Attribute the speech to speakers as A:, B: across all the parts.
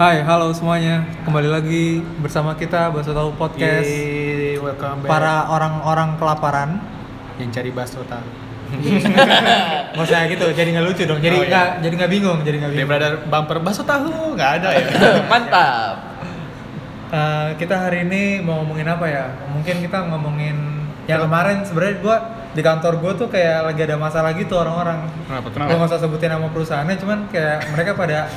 A: Hai, halo semuanya. Kembali lagi bersama kita Baso Tahu Podcast.
B: Yeay, welcome back.
A: Para orang-orang kelaparan.
B: yang cari baso tahu.
A: Nggak usah gitu, jadi nggak lucu dong.
B: Oh,
A: Jadi
B: iya.
A: nggak jadi nggak bingung, jadi nggak bingung.
B: Daripada ada bumper baso tahu nggak ada ya.
C: Mantap.
A: Eh, kita hari ini mau ngomongin apa ya? Mungkin kita ngomongin yang kemarin sebenarnya gua di kantor gua tuh kayak lagi ada masalah gitu orang-orang.
B: Kenapa?
A: Gua nggak usah sebutin nama perusahaannya, cuman kayak mereka pada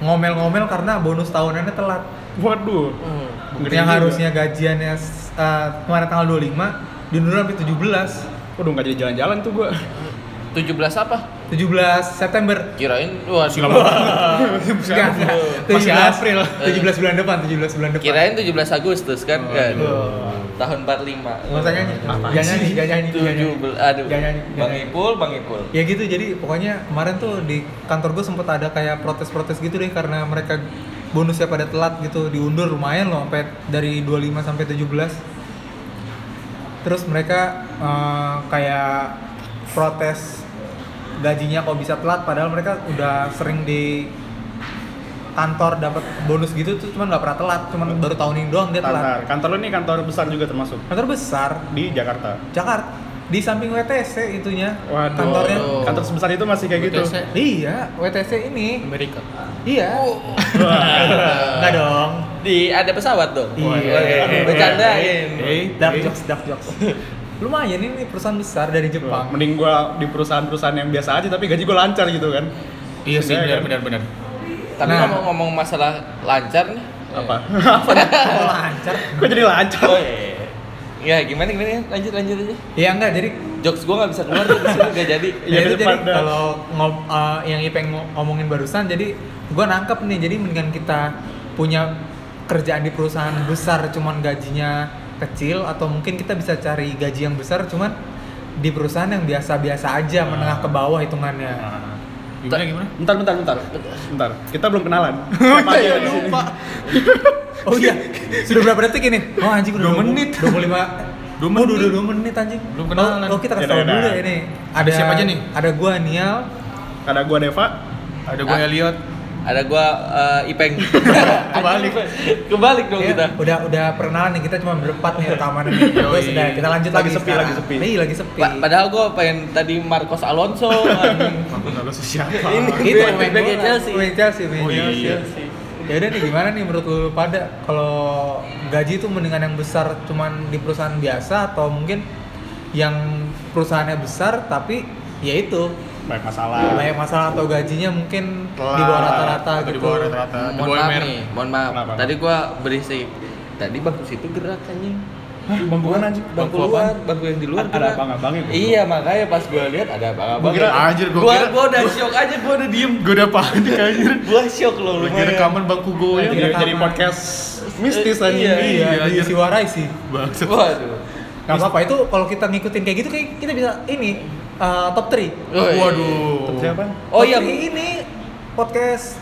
A: ngomel-ngomel karena bonus tahunannya telat.
B: Waduh.
C: Hmm.
B: Ngeri
A: yang
B: juga.
A: harusnya gajiannya s- eh, kemarin tanggal 25 diundur sampai 17.
B: Waduh nggak jadi jalan-jalan tuh gua.
C: 17 apa?
A: 17 September
C: Kirain wah
A: Enggak, enggak.
B: Masih
A: 17
B: April. Eh.
A: 17 bulan depan, 17 bulan depan.
C: Kirain 17 Agustus kan kan.
A: Aduh.
C: Tahun 45.
A: Nggak usah nyanyi.
B: Apa
A: Jangan nyanyi,
B: sih?
A: jangan nyanyi, jangan nyanyi.
C: 17 aduh.
A: Jangan nyanyi, jangan
C: Bang
A: nyanyi.
C: Ipul, Bang Ipul.
A: Ya gitu, jadi pokoknya kemarin tuh di kantor gue sempet ada kayak protes-protes gitu deh karena mereka bonusnya pada telat gitu, diundur lumayan loh sampai dari 25 sampai 17. Terus mereka eh, kayak protes gajinya kok bisa telat padahal mereka udah sering di kantor dapat bonus gitu tuh cuman nggak pernah telat cuman baru tahun ini doang dia telat
D: Kantor. Kantor lu nih kantor besar juga termasuk
A: kantor besar
D: di Jakarta.
A: Jakarta di samping WTC itunya
D: Waduh.
A: kantornya
C: Oh.
D: Kantor sebesar itu masih kayak gitu.
C: WTC.
A: iya WTC ini
B: Amerika.
A: iya nggak dong
C: Di ada pesawat dong.
A: Iya.
C: Wah, Bercandain.
B: Eh,
A: dark
B: eh.
A: jokes dark jokes lumayan ini perusahaan besar dari
D: Wah,
A: Jepang
D: Mending gua di perusahaan-perusahaan yang biasa aja tapi gaji gua lancar gitu kan.
B: Iya sih
D: Iya,
B: benar benar
D: kan?
B: benar.
C: Tapi
A: Nah.
C: ngomong ngomong masalah lancar nih.
D: Apa?
A: Oh, lancar
D: Kok jadi lancar?
C: Oh iya. Ya gimana gimana lanjut lanjut aja.
A: ya enggak jadi
C: Jokes gua nggak bisa keluar tuh di sini nggak jadi.
D: Iya,
A: jadi,
D: itu
A: jadi
D: pada-
A: kalau ngom- eh, yang Ipeng ngo- ngomongin barusan, jadi gua nangkep nih, jadi mendingan kita punya kerjaan di perusahaan besar cuman gajinya kecil atau mungkin kita bisa cari gaji yang besar cuman di perusahaan yang biasa-biasa aja menengah ke bawah hitungannya.
B: Gimana gimana?
D: Bentar, bentar, bentar. Bentar. Kita belum kenalan. Siapa aja di sini?
A: Oh iya, sudah berapa detik ini? Oh anjing udah
B: Dua
A: 2 menit,
B: menit.
A: 25
B: Dua
A: Oh, udah
B: menit.
A: 2 menit anjing.
B: Belum kenalan.
A: Oh, oh, kita kasih
D: Yaudah,
A: tau dulu
D: yaudah.
A: ya ini. Ada
B: Siapa aja nih?
A: Ada gua Nial.
D: Ada gua Deva.
B: Ada gua
C: Ah.
B: Elliot.
C: Ada gua eh, Ipeng.
B: Kebalik.
C: Kebalik dong
A: Ya,
C: kita.
A: udah udah perkenalan nih kita cuma berempat nih rekaman ini. Terus
B: Yoi.
A: udah kita lanjut
D: Lagi
A: lagi
D: sepi,
A: sekarang.
D: lagi sepi.
A: Nih, lagi sepi.
C: Pa- padahal gue pengen tadi Marcos Alonso. anjing.
B: Kalau siapa?
C: Ini
A: Gitu,
C: back-
A: main
C: backnya
A: bola.
C: Chelsea.
A: Main Chelsea, main
B: Oh, iya.
A: Chelsea. Ya udah nih gimana nih menurut lu pada kalau gaji itu mendingan yang besar cuman di perusahaan biasa atau mungkin yang perusahaannya besar tapi ya itu
D: Banyak masalah.
A: banyak masalah atau gajinya mungkin di bawah rata-rata
B: Atau
A: gitu.
B: Di bawah rata-rata. Eh, The
C: Hmm, mohon
B: boy
C: maaf
B: man.
C: nih, mohon maaf.
D: Kenapa?
C: Tadi gue berisik. Tadi bangku situ gerak anjing.
D: Bangku mana anjing?
C: Bangku
B: Bangku apaan?
C: luar, bangku yang di luar
D: Ada
C: gerak.
D: abang-abangnya, gua.
C: Iya, makanya pas gue lihat ada abang-abang.
B: Gua kira- anjir, gua
C: gua,
B: kira-
C: gua udah shock aja, gua udah diem.
B: Gua udah panik anjir.
C: Gua shock loh
B: Lagi
C: lumayan.
B: rekaman bangku
E: Iya,
B: gua
D: Jadi,
B: ya.
A: Direkaman.
D: jadi podcast mistis aja.
C: Iya,
A: Iya, di
B: anjir.
A: Siwarai sih.
B: Bangsat.
C: Waduh.
A: Gak apa-apa itu kalau kita ngikutin kayak gitu kayak kita bisa ini eh, top 3
C: Woi.
B: Waduh.
D: Siapa?
C: Oh iya,
A: Tapi ini podcast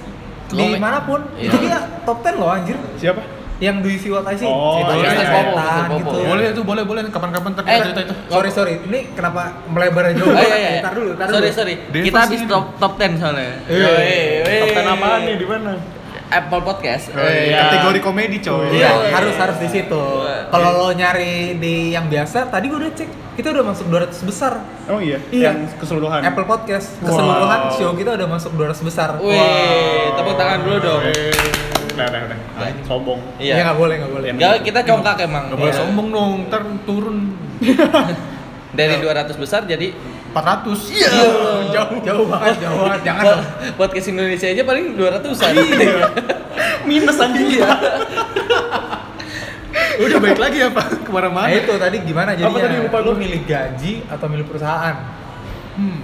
C: Lo me-
A: dimanapun
C: Iya.
A: itu dia top 10 loh anjir
D: Siapa?
A: yang do you see what I see
D: Oh,
A: Itu
B: iya,
A: Ustaz
B: iya,
A: Popan
C: iya. Ustaz
A: gitu
C: Popan.
B: Boleh tuh, boleh, boleh. Kapan-kapan ntar
C: Eh.
B: kita cerita itu.
A: sorry sorry ini kenapa melebar jauh
C: Oh, iya, iya.
A: Ntar dulu ntar
C: sorry,
A: dulu
C: sorry.
B: Dia
C: Kita
B: pasti
C: habis
B: ini.
C: top top 10 soalnya. Oh,
A: Eh.
C: Yoi, wey.
D: Kapten apaan nih di mana?
C: iya. Apple Podcast.
B: Oh, iya.
D: Iya.
B: Kategori komedi coy.
A: Iya,
C: Iya.
A: harus harus di situ.
C: Iya.
A: Kalau lo nyari di yang biasa, tadi gue udah cek, kita udah masuk 200 besar.
D: Emang iya?
A: Iya.
D: Yang keseluruhan.
A: Apple Podcast keseluruhan
D: Wow.
A: show kita udah masuk 200 besar.
C: Wih, Iya, tepuk tangan dulu dong.
B: Iya.
D: Eh, Udah, udah, udah. Sombong.
C: Iya.
A: Ya nggak boleh nggak boleh.
C: Enggak, kita congkak emang.
B: Gak boleh
C: Iya.
B: sombong dong, ntar turun
C: Dari 200 besar jadi
B: 400
C: Iya.
A: Jauh jauh banget jauh banget jangan. dong.
C: podcast Indonesia aja paling 200-an.
D: Minus anjing.
B: Udah baik lagi ya Pak,
A: Nah
B: kemana-mana
A: itu tadi gimana jadinya?
D: tadi lupa
A: lu
D: gua?
A: milih gaji atau milih perusahaan?
D: Hmm.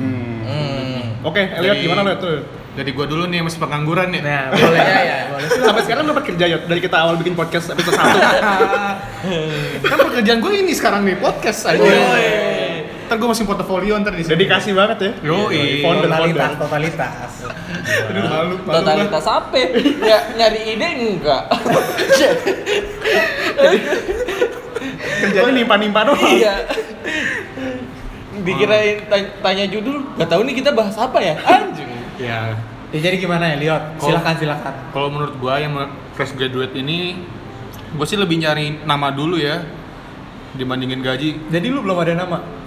C: Hmm.
D: Oke, Elliot
B: Jadi-
D: gimana Elliot tuh?
B: Dari gua dulu nih yang masih pengangguran nih
A: Nah, boleh
C: Iya,
A: ya,
C: iya.
A: boleh.
D: Sampai sekarang dapat kerja Yot dari kita awal bikin podcast episode 1.
B: Kan pekerjaan gua ini sekarang nih, podcast aja Ntar gua masukin portofolio ntar di sini
D: Dedikasi banget ya.
B: Yoi.
D: Founder, founder.
A: totalitas, totalitas.
B: Aduh, malu, malu gua.
C: Totalitas apa? Ya, nyari ide enggak?
D: Kerjanya nimpa-nimpa doang.
C: iya. Dikirain ta- tanya judul, gak tahu nih kita bahas apa ya? Anjing.
B: Ya,
A: Ya jadi gimana ya, Liot?
E: Kalau-
A: Silakan silakan.
E: Kalau menurut gua yang fresh graduate ini, gua sih lebih nyari nama dulu ya dibandingin gaji.
A: Jadi lu belum ada nama?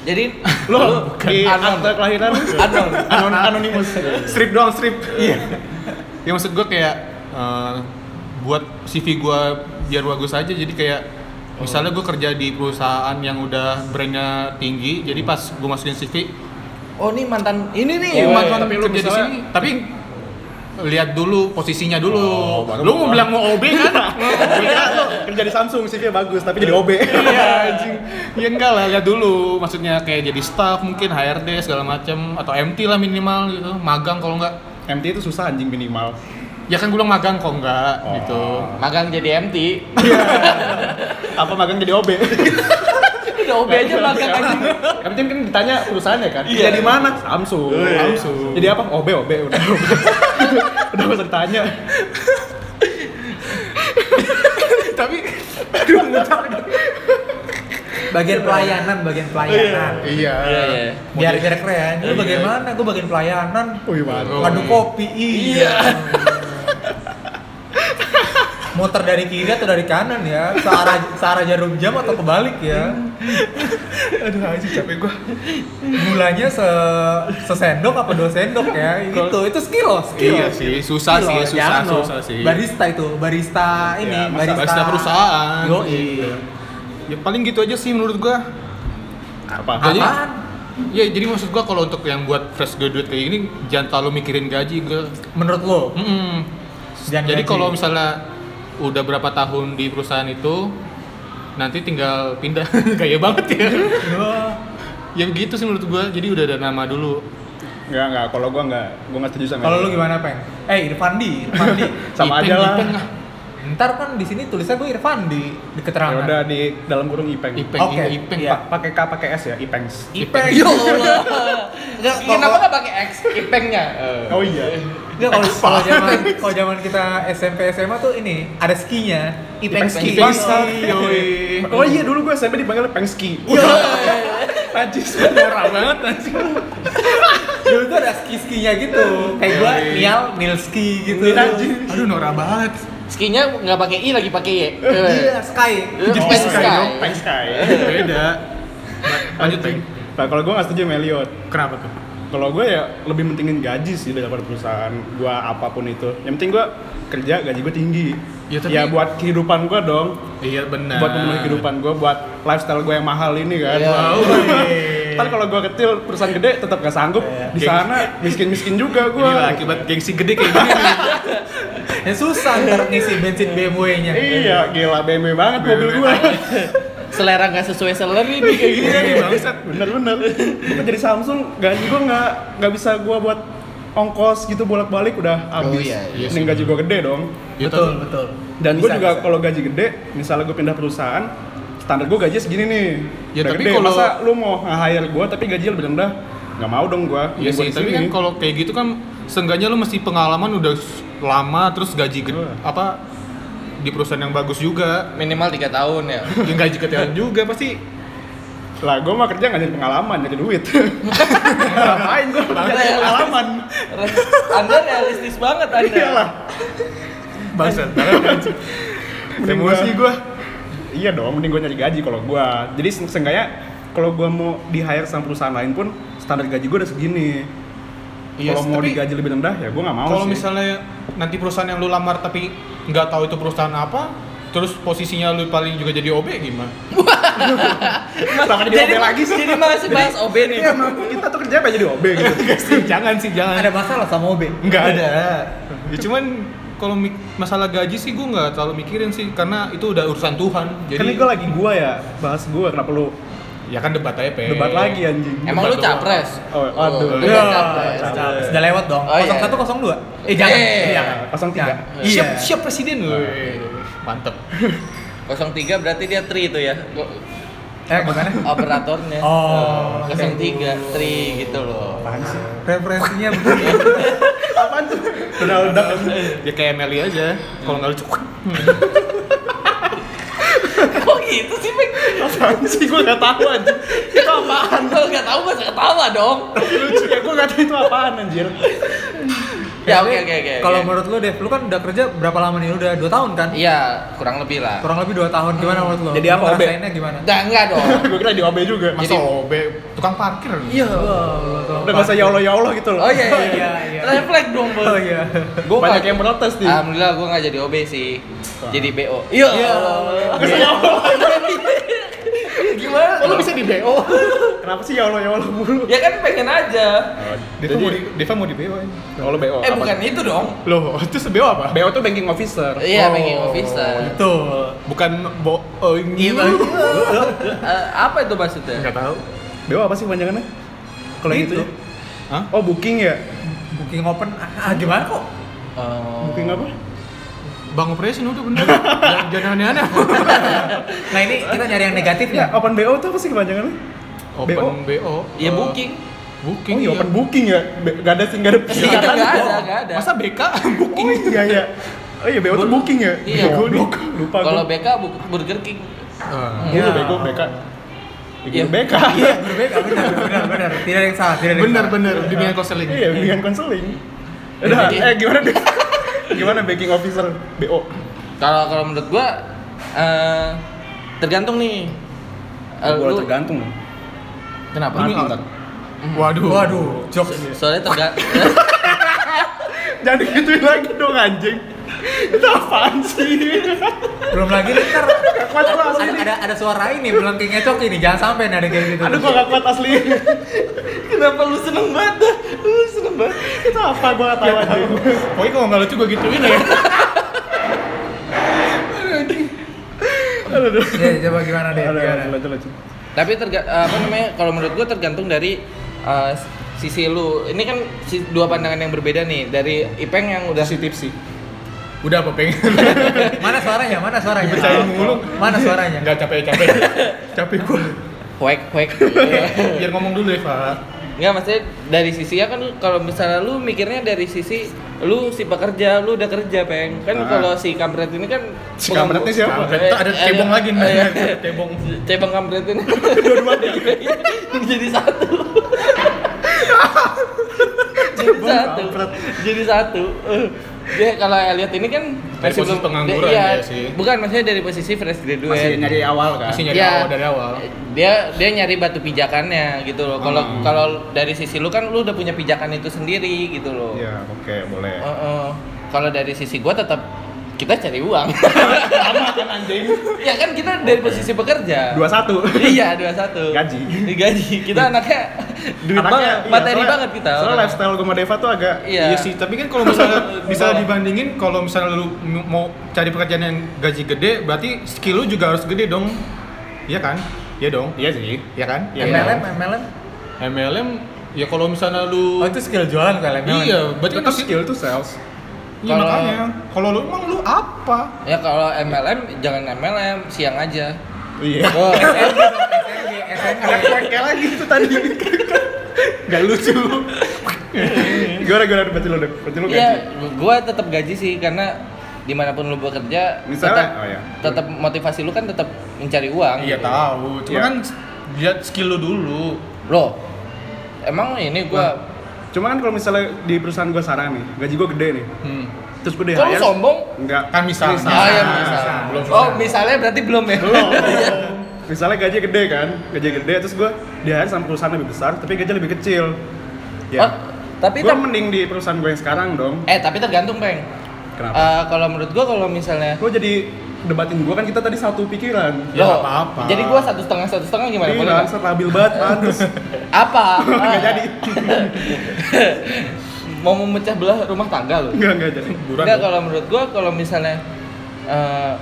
C: Jadi
D: Lo di akte kelahiran
C: Anon.
D: anon anonimus.
B: Strip doang, strip.
E: Ya maksud gua kayak eh, buat CV gua biar bagus aja. Jadi kayak misalnya gua kerja di perusahaan yang udah brandnya tinggi, jadi pas gua masukin CV,
C: Oh ini mantan ini nih.
E: Iya,
C: mantan
E: tapi lu kerja di sini. Tapi lihat dulu posisinya dulu.
D: Oh, baru
E: lu mau
D: baru.
E: bilang mau OB kan?
D: Kira lo kerja di Samsung CV bagus tapi jadi OB.
E: Iya, anjing. Ya enggak lah, lihat dulu. Maksudnya kayak jadi staff mungkin HRD segala macam atau MT lah minimal gitu. Magang kalau enggak.
D: MT itu susah anjing minimal.
E: Ya kan gue bilang magang kok enggak
D: Oh.
E: gitu.
C: Magang jadi MT.
D: Apa magang jadi OB?
C: Udah OB aja magang aja.
D: Iya. Yang penting kan ditanya perusahaannya kan.
E: Iya.
D: Kerja di mana? Samsung.
E: Oh,
D: Samsung. Jadi apa? Oh, OB OB udah. udah gak usah ditanya.
A: Bagian pelayanan, bagian
D: Oh,
A: pelayanan.
D: Iya.
C: Iya iya.
A: Biar biar keren. Lu bagian mana? Gue bagian pelayanan.
D: Wih, mantap.
A: Ngadu kopi. Iya. Muter dari kiri atau dari kanan ya? Searah searah jarum jam atau kebalik ya?
B: Aduh, anjing capek gua.
A: Gulanya se sesendok apa dua sendok ya? Itu itu skill loh, skill.
E: Iya sih, susah sih,
A: Skill loh,
E: susah,
A: jangan loh.
E: susah sih. Iya,
A: Barista itu, barista ini,
D: Ya, masa
A: barista,
E: barista perusahaan.
A: Yo,
E: Ya paling gitu aja sih menurut gua.
D: Apa?
E: Jadi-
A: Apaan?
E: Ya jadi maksud gua kalau untuk yang buat fresh graduate kayak gini jangan terlalu mikirin gaji gua.
A: Menurut lo?
E: Mm-mm.
A: Jangan
E: Jadi
A: gaji.
E: kalau misalnya udah berapa tahun di perusahaan itu nanti tinggal pindah gaya banget ya.
A: Wah.
E: ya gitu sih menurut gua. Jadi udah ada nama dulu.
D: Enggak, enggak. Kalau gua enggak, gua enggak setuju sama
A: Kalau
D: itu.
A: lu gimana, Peng? Eh, Irfandi, Irfandi.
D: sama
E: Ipeng,
D: aja lah.
E: Ipeng
A: Ntar kan di sini tulisnya gue Irfandi di
D: Ya
A: keterangan.
D: udah di dalam kurung Ipeng.
E: Ipeng,
A: Oke,
E: Ipeng,
A: iya.
E: Pak.
D: Pa- Pakai K pakai S ya, Ipengs.
A: Ipeng.
C: Ya Allah. Nggak, Kenapa nggak pakai X? Ipengnya.
D: Oh iya.
A: Nggak, kalau kalau zaman kalau zaman kita SMP SMA tuh ini ada skinya, Ipeng
D: Ipeng
A: ski.
D: ski. Bangsat. Oh iya dulu gue SMP dipanggil Pengski. Najis orang banget najis.
A: Dulu tuh ada ski-skinya gitu. Kayak gua Nial Nilski gitu.
D: Najis.
E: Aduh norak banget.
C: Skinya nggak pakai I lagi pakai Y.
A: Iya, Sky.
C: Jadi
D: Oh,
C: Pengski.
D: dong, Pengski.
E: ya. Beda. Lanjut Peng.
D: Nah kalau gue nggak setuju sama Elliot.
E: Kenapa tuh?
D: Kalau gue ya lebih mentingin gaji sih daripada perusahaan gue apapun itu. Yang penting gue kerja gaji gue tinggi.
E: Ya, tapi-
D: Ya buat kehidupan gue dong.
E: Iya benar.
D: Buat memenuhi kehidupan gue, buat lifestyle gue yang mahal ini kan.
C: Iya.
D: Wow. Ntar kalau gue kecil perusahaan gede tetap gak sanggup. Di sana miskin-miskin juga gue.
E: Iya. Inilah akibat gengsi gede kayak gini. nih.
A: Ya susah ntar ngisi bensin BMW-nya.
D: Iya, gila BMW banget mobil gue.
E: Iya.
C: Selera nggak sesuai salary nih kayak gitu. gini.
D: Iya nih bangsat, bener-bener. Gue jadi Samsung, gaji gue nggak nggak bisa gue buat ongkos gitu bolak-balik udah habis.
C: iya,
E: iya
D: Mending
E: sih.
D: gaji gue gede dong.
E: Ya,
A: Betul,
E: tapi-
A: betul.
D: Dan gue
A: Bisa,
D: juga
A: bisa.
D: kalau gaji gede, misalnya gue pindah perusahaan, standar gue gaji segini nih.
E: Ya,
D: Udah
E: tapi
D: gede.
E: kalau-
D: masa lu mau hire gue tapi gaji lebih rendah, nggak mau dong gue.
E: Iya sih, tapi kan kalau kayak gitu kan seenggaknya lu mesti pengalaman udah s- lama terus gaji gede,
D: Wah.
E: apa di perusahaan yang bagus juga.
C: Minimal 3 tahun ya.
E: Yang gaji ketelan juga pasti
D: lah gue mah kerja nggak jadi pengalaman, nggak jadi duit. Ngapain gue kerja jadi pengalaman?
C: Anda realistis banget Anda.
D: Iyalah.
E: bangsat banget.
D: Mending
E: Emosi
D: gua-
E: gua.
D: Iya dong, mending gue nyari gaji kalau gue. Jadi se- seenggaknya kalau gue mau di hire sama perusahaan lain pun standar gaji gue udah segini.
E: Iya,
D: kalau mau
E: tapi-
D: digaji lebih rendah ya gue nggak mau
E: Kalau
D: sih.
E: misalnya nanti perusahaan yang lu lamar tapi nggak tahu itu perusahaan apa, terus posisinya lu paling juga jadi OB gimana?
D: Sama di OB lagi sih.
C: Jadi masih bahas OB nih.
D: Iya, emang kita tuh kerja apa jadi OB gitu.
E: jangan sih, jangan.
A: Ada masalah sama OB?
E: Nggak ada. Ya cuman kalau mik- masalah gaji sih gue nggak terlalu mikirin sih karena itu udah urusan Tuhan.
D: Kan
E: Jadi
D: ini gue lagi gue ya, bahas gue kenapa lu
E: ya kan debat aja, Pe.
D: debat lagi ya. anjing.
C: Emang lu capres?
D: Oh, aduh.
C: Lu
A: Ya,
C: kan capres.
A: capres. Sudah lewat dong.
C: Oh, iya.
A: 0102. Eh jangan.
C: Eh.
A: Iya.
D: Pasang tiga.
A: Iya.
E: Siap, siap presiden lu. Mantep.
C: 03 berarti dia tri itu ya.
A: Eh, gimana?
C: Operatornya.
A: Oh,
C: Eh, 03 tri gitu loh.
D: Apaan sih?
A: Referensinya begini.
D: Apaan tuh? Udah udah.
E: Ya kayak Meli aja. Kalau nggak lucu.
C: Kok gitu sih, Pik?
D: Apaan sih? Gue nggak tahu anjing.
C: Itu apaan? Kalau nggak tahu masa ketawa dong.
D: Iya, Lucu ya, gue nggak tahu itu apaan anjir.
C: Ya,
A: Tapi
C: oke, oke, oke,
A: Kalau
D: iya.
C: oke.
A: menurut lu Dev, lu kan udah kerja berapa lama nih? Udah 2 tahun kan?
C: Iya, kurang lebih lah.
A: Kurang lebih 2 tahun. Gimana menurut lu?
D: Jadi
A: Lu
D: apa, Obe?
A: Ngerasainnya gimana?
C: Enggak, enggak dong.
D: gue kira di OB juga
B: Masa
C: Jadi-
B: OB tukang parkir.
A: Iya. Allah, Allah.
D: udah gak usah ya Allah ya Allah gitu loh
C: Oh iya iya iya.
A: iya.
C: Reflek dong, Bang.
A: Oh iya.
C: Gua
D: banyak
C: nggak-
D: yang protes nih
C: Alhamdulillah gua nggak jadi OB sih. Jadi BO. Iya.
A: Iya.
C: Gimana?
B: Oh, lu bisa di BO.
D: kenapa sih ya Allah ya Allah mulu
C: Ya kan pengen aja.
B: Deva
D: Oh, Jadi-
B: mau di Deva mau di BO ini.
D: kalau BO
C: Eh
D: apa?
C: bukan itu dong.
B: Loh, itu BO apa?
D: BO tuh banking officer
C: Iya, pengen officer.
A: Itu.
E: Bukan bo eh,
D: Iya,
A: Gitu.
C: Iya, Eh, apa itu maksudnya?
B: Enggak tahu.
D: BO apa sih panjangannya kalau yang itu
A: Itu.
D: ya?
E: Hah?
D: oh booking ya
A: Booking open ah gimana kok?
C: Oh.
D: booking apa
E: Bang operation udah bener. Jangan- Jangan aneh-aneh.
A: Nah, ini kita nyari yang negatif
D: ya
A: ya.
D: open BO tuh apa sih kepanjangannya
E: Open BO.
C: Ya
E: eh,
C: booking.
E: Booking.
D: Iya, Oh iya,
E: iya.
D: open booking ya? Be- Gak ada sih, gak ada
C: Iya,
D: persyaratan.
C: nggak ada, nggak ada.
E: Masa BK
D: booking? Oh iya, iya. Oh iya, BO tuh
C: Gua-
D: booking ya?
C: Iya.
D: Goblok. Lupa gue.
C: Kalau BK bu- Burger King.
E: Eh,
D: Iya, lu bego, BK.
C: Iya.
D: Iya, BK.
A: Iya, guru BK benar benar benar. Tidak ada yang salah, tidak ada yang
E: Bener
A: salah.
E: bener di bidang konseling.
D: Iya, bimbingan konseling. Udah,
C: Iya.
D: eh gimana deh? Gimana banking officer BO?
C: Kalau kalau menurut gua eh, tergantung nih. Eh,
D: Gua
C: lu-
D: tergantung.
E: Ini
C: kenapa?
D: Mati,
E: apa?
D: ntar.
E: Mm. Waduh.
A: Waduh, jokes.
C: Soalnya tergantung.
D: Jangan digituin lagi dong anjing. Itu apaan sih?
A: Belum lagi nih, ntar
D: Gak kuat lu asli.
A: ada, ada ada suara ini melengking ngecok ini. Jangan sampai nih ada kayak gitu.
D: Aduh, gua gak kuat asli.
C: Kenapa lu seneng banget? dah? Lu seneng banget.
D: Itu apa? Gua gak tau anjing.
E: Pokoknya kalau nggak lucu gue gituin ya.
D: Aduh, aduh.
A: Ya, coba gimana deh?
D: Aduh,
A: Gimana?
D: aduh, aduh, aduh.
C: Tapi terga, apa namanya? Kalau menurut gua tergantung dari eh, sisi lu. Ini kan si- dua pandangan yang berbeda nih dari Ipeng yang udah
D: Kasih tips sih.
E: Udah apa pengen?
A: Mana suaranya? Mana suaranya?
E: Dipecahin mulu.
A: Mana suaranya?
E: Nggak capek-capek. Capek gue.
C: hoek hoek.
E: Biar ngomong dulu Eva.
C: Enggak maksudnya dari sisi ya kan kalau misalnya lu mikirnya dari sisi lu si pekerja, lu udah kerja, Peng. Kan
D: Ah.
C: kalau si kampret ini kan
D: Si kampretnya siapa?
E: Kampret. Tuh ada cebong lagi nih.
C: Cebong. Cebong kampret ini. Jadi satu. Jadi satu. Jadi satu. Eh, Dia kalau lihat ini kan
E: Dari
C: masih
E: posisi
C: belum-
E: pengangguran
C: dia- iya,
E: ya sih.
C: Bukan maksudnya dari posisi fresh graduate.
D: Masih nyari awal kan?
E: Masih nyari
C: Ya,
E: awal dari awal.
C: Dia dia nyari batu pijakannya gitu loh. Kalau
E: Hmm.
C: kalau dari sisi lu kan lu udah punya pijakan itu sendiri gitu loh.
D: Iya, oke, boleh.
C: Heeh. Kalau dari sisi gua tetap kita cari uang.
D: Sama kan anjing.
C: ya kan kita dari posisi pekerja.
D: 21.
C: Iya, 21.
D: Gaji.
C: Gaji. Kita anaknya duit
D: Anaknya,
C: banget,
D: iya,
C: materi
D: soalnya-
C: banget kita.
D: Soalnya
C: orangnya.
D: lifestyle gue sama Deva tuh agak
C: Iya.
E: Iya sih, tapi kan kalau misalnya bisa dibandingin kalau misalnya lu m- mau cari pekerjaan yang gaji gede, berarti skill lu juga harus gede dong. Iya kan? Iya dong.
D: Iya sih.
E: Iya kan?
D: Iya.
A: MLM, MLM.
E: MLM ya kalau misalnya lu
A: Oh itu skill jualan kali MLM.
E: Iya, berarti kan
D: Tetap
E: skill.
D: skill tuh sales.
E: Iya
C: Kalau-
E: makanya. Kalau lu emang lu apa?
C: Ya kalau MLM jangan MLM, siang aja.
D: Iya.
C: Oh,
A: SNG, SNG.
D: Kayak lagi itu tadi. Gak lucu. gimana gimana baca lo deh, baca lo gaji.
C: Iya, gua tetap gaji sih karena dimanapun lu bekerja
D: Misalnya-
C: tetap
D: oh iya.
C: tetap motivasi lu kan tetap mencari uang.
E: Iya
C: gitu.
E: tahu. Cuma
D: Iya.
E: kan lihat skill lu dulu.
C: Loh, emang ini gua
D: Cuma kan kalau misalnya di perusahaan gue saran nih, gaji gue gede nih.
E: Hmm.
D: Terus gue di
C: Kok lu
D: hire.
C: sombong?
D: Enggak.
E: Kan
D: Nah,
E: misalnya.
C: Ah, ya,
E: misalnya.
C: misalnya.
E: Belum
C: oh,
E: misalnya.
C: misalnya berarti belum ya.
D: Belum. iya. misalnya gaji gede kan, gaji gede terus gue di hire sama perusahaan lebih besar, tapi gaji lebih kecil. Ya.
C: Oh, tapi
D: gue
C: ter-
D: mending di perusahaan gue yang sekarang dong.
C: eh tapi tergantung, Peng.
D: Kenapa?
C: Eh, kalau menurut gua kalau misalnya
D: Lo jadi debatin gua kan kita tadi satu pikiran.
E: Ya,
C: Loh,
E: nggak apa-apa.
C: Jadi gua satu setengah satu setengah gimana? Boleh
D: Iya,
C: nggak?
D: stabil banget pantes.
C: Apa?
D: Enggak
C: Ah.
D: jadi.
C: Mau memecah belah rumah tangga loh.
D: Enggak enggak jadi.
E: Buruan
C: Enggak
E: dong.
C: kalau menurut gua kalau misalnya eh,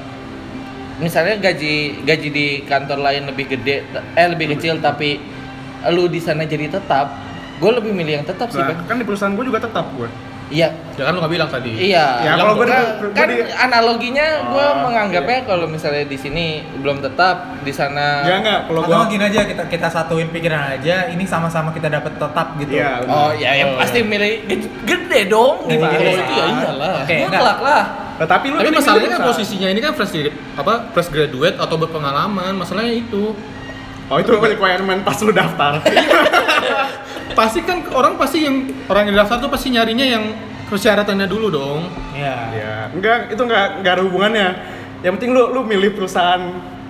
C: misalnya gaji gaji di kantor lain lebih gede eh lebih kecil tapi lu di sana jadi tetap, gua lebih milih yang tetap sih,
D: Nah,
C: Bang.
D: kan di perusahaan gua juga tetap gua.
C: Iya.
E: Ya kan lu nggak bilang tadi.
C: Iya.
D: Ya
E: Yang
D: kalau gua
E: gua-
D: di-
C: Nah,
D: gua
C: kan
D: di-
C: analoginya gua
D: Ah,
C: menganggapnya kalau misalnya di sini belum tetap, di sana
D: Ya enggak, kalau
A: Atau
D: gua
A: gini aja kita kita satuin pikiran aja, ini sama-sama kita dapat tetap gitu.
D: Iya.
C: Oh ya, yang pasti milih gede, gede dong gimana?
A: Gede.
C: Itu ya iyalah.
A: iya, Oke,
C: Gua
A: enggak.
C: kelak lah.
D: Nah, tapi lu
E: Tapi
D: mending
E: masalahnya
D: di
E: kan
D: perusahaan.
E: posisinya ini kan fresh grad- apa fresh graduate atau berpengalaman, masalahnya itu.
D: Oh, itu requirement pas lu daftar.
E: Pasti kan orang pasti yang orang yang daftar tuh pasti nyarinya yang persyaratannya dulu dong
A: Iya.
D: Ya, enggak, itu enggak enggak ada hubungannya. Yang penting lu lu milih perusahaan,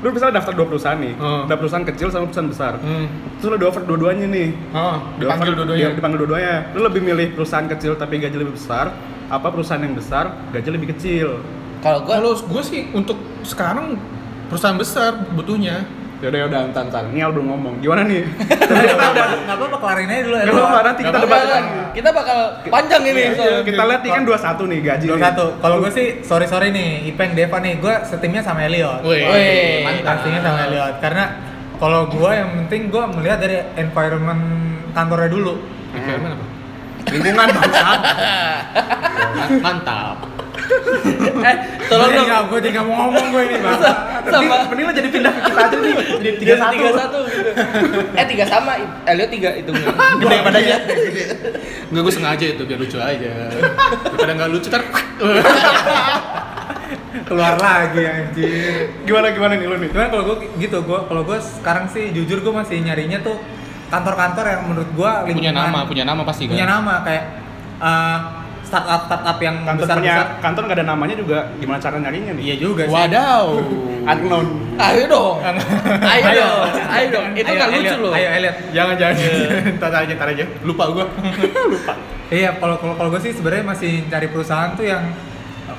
D: lu misalnya daftar dua perusahaan nih,
E: Hmm.
A: Oh.
D: ada perusahaan kecil sama perusahaan besar.
E: hmm.
D: Terus lu di offer dua-duanya nih.
E: oh,
D: Di
E: dipanggil
D: offer-
E: dua-duanya
D: iya, dipanggil dua-duanya. Lu lebih milih perusahaan kecil tapi gaji lebih besar, apa perusahaan yang besar gaji lebih kecil?
C: Kalau gua
E: kalau gue sih untuk sekarang perusahaan besar butuhnya
D: Yaudah yaudah, ntar ntar. Ini Al belum ngomong. Gimana nih?
A: Enggak apa-apa kelarin aja dulu ya.
D: Gak apa-apa, nanti kita
E: Nggak
D: debat.
C: Enggak,
A: kan?
C: enggak. kita bakal panjang ini
A: Iya,
C: soalnya.
D: Kita lihat ini kan 21 nih gaji.
A: Dua
D: nih.
A: satu. Kalau gue sih sorry sorry nih, Ipeng Deva nih, gue setimnya sama Elliot.
E: Wih,
C: Wih,
E: mantap.
A: Pastinya sama Elliot. Karena kalau gue yang penting gue melihat dari environment kantornya dulu.
E: Environment apa?
D: Lingkungan bangsat.
E: Man- mantap
C: Eh, tolong dong.
A: gue tinggal mau ngomong gue ini bang.
C: Sama
D: Mending lo jadi pindah ke kita aja nih. Jadi
C: tiga tiga satu gitu. Eh tiga sama, Elliot tiga itu.
E: gede badannya nggak gue sengaja itu biar lucu aja daripada nggak lucu ter
A: Keluar lagi anjir.
D: Gimana gimana nih lu nih?
A: Cuman kalau gue gitu, gue kalau gue sekarang sih jujur gue masih nyarinya tuh kantor-kantor yang menurut gue
E: punya nama punya nama pasti kan
A: punya nama kayak eh, startup startup yang
D: kantor
A: besar
D: punya
A: besar.
D: kantor nggak ada namanya juga gimana cara nyarinya nih
A: Iya juga sih.
E: wadaw
D: unknown
C: Ayo dong. Ayo dong. Ayo dong. Itu
A: Ayo,
C: nggak lucu
A: Elliot,
C: loh.
A: Ayo Elliot.
E: jangan jangan
D: Iya.
E: ntar aja ntar aja lupa gue
A: Iya, kalau kalau kalau gue sih sebenarnya masih cari perusahaan tuh yang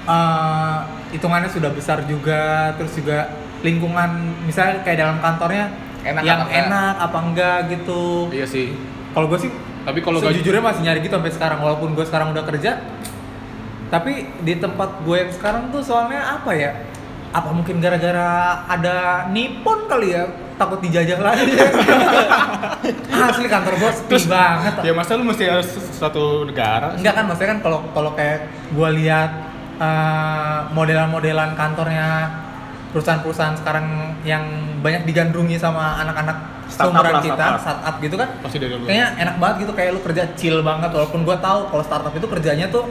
A: eh, hitungannya sudah besar juga, terus juga lingkungan misalnya kayak dalam kantornya
C: Enak
A: yang
C: apa enggak?
A: enak apa enggak gitu.
E: iya sih
A: Kalau gue sih
E: tapi kalau gaji
A: sejujurnya masih nyari gitu sampai sekarang walaupun gue sekarang udah kerja. Tapi di tempat gue yang sekarang tuh soalnya apa ya? Apa mungkin gara-gara ada Nippon kali ya? Takut dijajah lagi. Asli kantor gue sepi banget.
E: ya masa lu mesti harus satu negara
A: Enggak kan maksudnya kan kalau kalau kayak gua lihat eh, modelan-modelan kantornya perusahaan-perusahaan sekarang yang banyak digandrungi sama anak-anak
D: Startup
A: seumuran
D: lah,
A: kita,
D: startup.
A: startup gitu kan.
E: pasti dari lu
A: Kayaknya enak banget gitu kayak lu kerja chill banget walaupun gua tahu kalau startup itu kerjanya tuh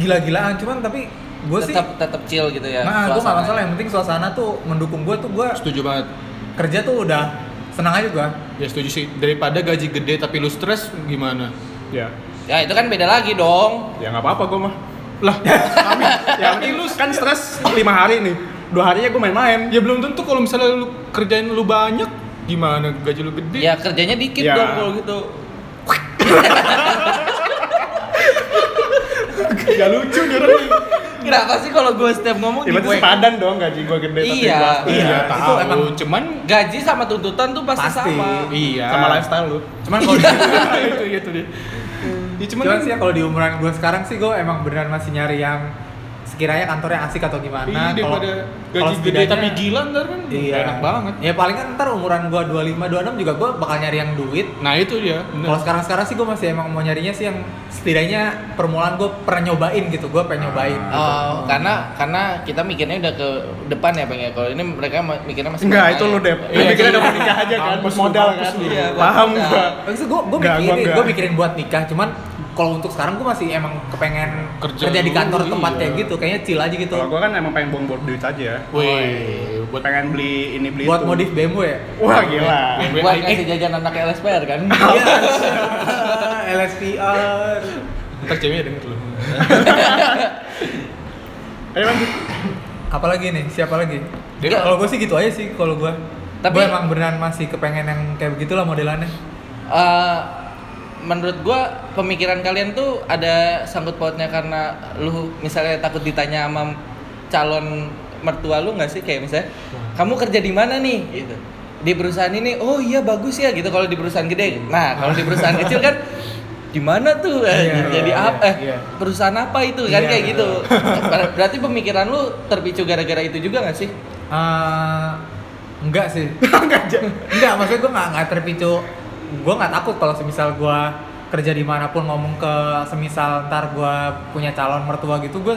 A: gila-gilaan cuman tapi gua sih
C: Tetap tetap chill gitu ya.
A: Nah, gue gak
C: suasana.
A: masalah yang penting suasana tuh mendukung gua tuh gua
E: setuju banget
A: kerja tuh udah senang aja gua.
E: ya setuju sih daripada gaji gede tapi lu stres gimana
D: ya
C: Ya itu kan beda lagi dong.
D: ya nggak apa-apa gue mah lah kami ya penting lu kan stres lima hari nih dua harinya gue main-main
E: ya belum tentu kalau misalnya lu kerjain lu banyak gimana gaji lu gede
C: Ya kerjanya dikit
D: Ya.
C: dong kalau gitu.
D: gak lucu dia orang
C: Kenapa sih kalau gue setiap ngomong
D: ya berarti
C: dibuat-
D: sepadan dong gaji gue gede tapi
C: Iya.
D: gua-
E: iya,
A: Iya, itu
E: tahu
A: emang-
E: cuman
C: gaji sama tuntutan tuh pasti,
A: Pasti.
C: sama.
E: iya
D: sama lifestyle lu
A: Cuman kalau di-
E: itu iya, itu dia ya, cuman,
A: Cuman
E: kan-
A: sih ya kalau di umuran gue sekarang sih gue emang beneran masih nyari yang sekiranya kantornya asik atau gimana.
D: nah,
E: Iya,
A: Kalau-
E: daripada
A: kalau
E: gaji gede
A: setidaknya-
E: tapi gila ntar kan
A: Iya.
E: enak banget.
A: Ya paling kan ntar umuran gue 25 26 juga gue bakal nyari yang duit.
E: Nah itu dia. bener.
A: Kalau sekarang-sekarang sih gue masih emang mau nyarinya sih yang setidaknya permulaan gue pernah nyobain gitu, gue pengen nyobain.
E: Ah.
A: gitu.
C: Oh, karena karena kita mikirnya udah ke depan ya, Bang ya. Kalau ini mereka ma- mikirnya masih
D: enggak
C: ke
D: itu
C: depan
D: lu
C: ya.
D: dep lu
E: Iya,
D: mikirnya
E: iya.
D: udah mau nikah aja kan
E: Mampus lu,
D: modal
E: mampus
D: kan
C: lu. Iya,
D: paham
C: modal.
D: gue
A: Maksud gue gue
D: Enggak,
A: mikirin,
D: gua enggak.
A: gue mikirin buat nikah. Cuman kalau untuk sekarang gue masih emang kepengen kerja,
E: Kerja
A: di
E: dulu,
A: kantor tempat
E: iya.
A: kayak gitu, kayaknya chill aja gitu.
D: kalau gue kan emang pengen buang-buang duit aja ya.
E: Wih,
D: buat
E: buat
D: pengen beli ini beli
A: Buat
D: itu
A: modif BMW ya.
D: wah gila
C: Buat ngasih jajan anak LSPR kan.
A: Iya. LSPR.
E: ntar ceweknya denger lu.
D: ayo lanjut
A: apalagi nih siapa lagi
E: Dewa.
A: kalau gue sih gitu aja sih kalau gue
C: Tapi-
A: tapi emang beneran masih kepengen yang kayak begitulah modelannya
C: Eh, menurut gua pemikiran kalian tuh ada sangkut pautnya karena lu misalnya takut ditanya sama calon mertua lu nggak sih kayak misalnya kamu kerja di mana nih gitu di perusahaan ini oh iya bagus ya gitu kalau di perusahaan
A: Iya.
C: gede nah kalau di perusahaan kecil kan di mana tuh Eh,
A: Iya,
C: jadi
A: iya,
C: apa eh,
A: iya.
C: perusahaan apa itu kan
A: Iya,
C: kayak
A: iya.
C: gitu Ber- berarti pemikiran lu terpicu gara-gara itu juga nggak sih
A: Eh, enggak sih enggak maksudnya gue nggak nggak terpicu gue nggak takut kalau semisal gue kerja dimanapun ngomong ke semisal ntar gue punya calon mertua gitu gue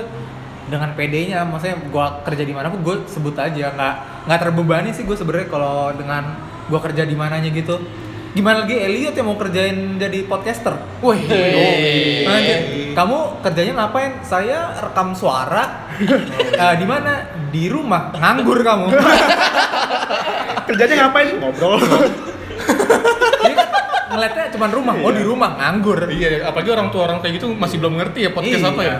A: dengan PD-nya maksudnya gue kerja dimanapun gue sebut aja nggak nggak terbebani sih gue sebenarnya kalau dengan gue kerja di mananya gitu gimana lagi Elliot yang mau kerjain jadi podcaster
E: Wih,
A: Iya.
C: Wih.
A: Lanjut. Kamu kerjanya ngapain? Saya rekam suara. Eh, di mana? Di rumah. Nganggur kamu.
D: kerjanya ngapain ngobrol
A: Jadi, kan ngeliatnya cuma rumah. Oh, di rumah nganggur.
E: Iya, apalagi orang tua orang kayak gitu masih belum ngerti ya podcast
A: Iya.
E: apa ya.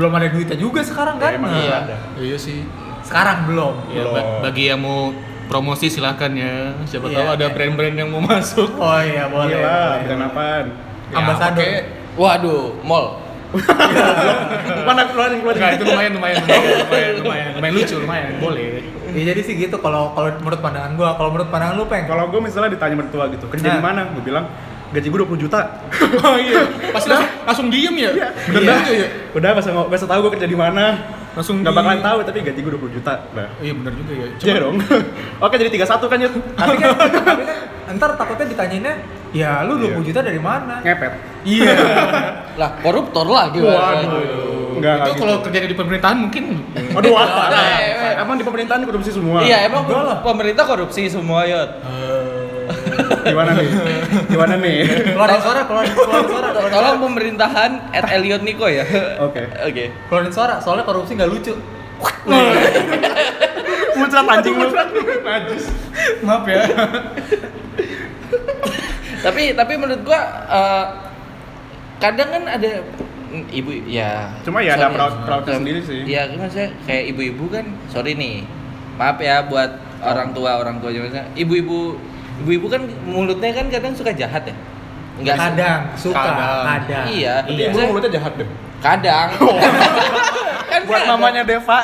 A: Belum ada duitnya juga sekarang kan?
D: emang
A: Nah,
D: iya ada.
E: Iya sih.
A: Sekarang belum.
E: Ya,
D: Belum.
E: ba- bagi yang mau promosi silakan ya. Siapa
A: Iya,
E: tahu ada
A: iya.
E: brand-brand yang mau masuk.
A: Oh iya, boleh.
D: Gila,
A: boleh.
D: bukan apaan.
E: Ya,
A: Ambasador.
E: pakai-
C: Waduh, mall.
D: Mana keluarin keluarin.
E: Enggak, itu lumayan lumayan lumayan lumayan lumayan, lumayan lucu lumayan boleh.
A: Ya jadi sih gitu kalau kalau menurut pandangan gua, kalau menurut pandangan lu peng.
D: Kalau gue misalnya ditanya mertua gitu, kerja di
A: Nah.
D: mana? Gue bilang gaji gue 20 juta.
E: Oh iya, pasti langsung, langsung diem ya. Bener
A: Iya.
E: juga ya.
D: Udah masa nggak masa tahu gue kerja di mana.
E: Langsung
D: Gak
E: di-
D: bakalan tahu tapi gaji gue 20 juta. Nah.
E: Iya bener juga ya.
D: Iya dong. Oke jadi 31 kan Yud?
A: Tapi kan, tapi kan ntar takutnya ditanyainnya, ya lu 20
D: Iya.
A: juta dari mana?
D: Ngepet.
A: Iya.
C: Lah, gitu. koruptor lagi.
D: Enggak
E: itu kalau
C: gitu.
E: kerjanya di pemerintahan mungkin
D: gitu. Aduh, apa?
C: Nah,
D: Nah,
C: eh, eh.
D: Emang di pemerintahan korupsi semua?
C: Iya, emang
A: Enggak lah.
C: pemerintah korupsi semua, Yot.
D: Gimana nih? Gimana nih?
A: Keluarin suara, keluarin, keluarin suara,
C: To-
A: keluarin
C: Tolong pemerintahan at Elliot Niko ya.
D: Oke.
C: Oke.
A: suara. Keluarin suara, soalnya korupsi nggak lucu.
D: Muncrat anjing lu.
A: Maaf ya.
C: Tapi tapi menurut gua eh, kadang kan ada mm, ibu ya.
D: Cuma ya ada
C: sorry.
D: proud proudnya
C: Em,
D: sendiri sih.
C: Iya, kan maksudnya kayak ibu-ibu kan, sorry nih. Maaf ya buat orang tua orang tua maksudnya ibu-ibu ibu-ibu kan mulutnya kan kadang suka jahat ya. Enggak
A: Kadang, suka,
E: Kadang.
A: kadang.
C: Iya.
D: Tapi ibu
C: Maksudnya,
D: mulutnya jahat deh.
C: kadang. kan
D: Oh. Buat
C: kadang.
D: mamanya Deva.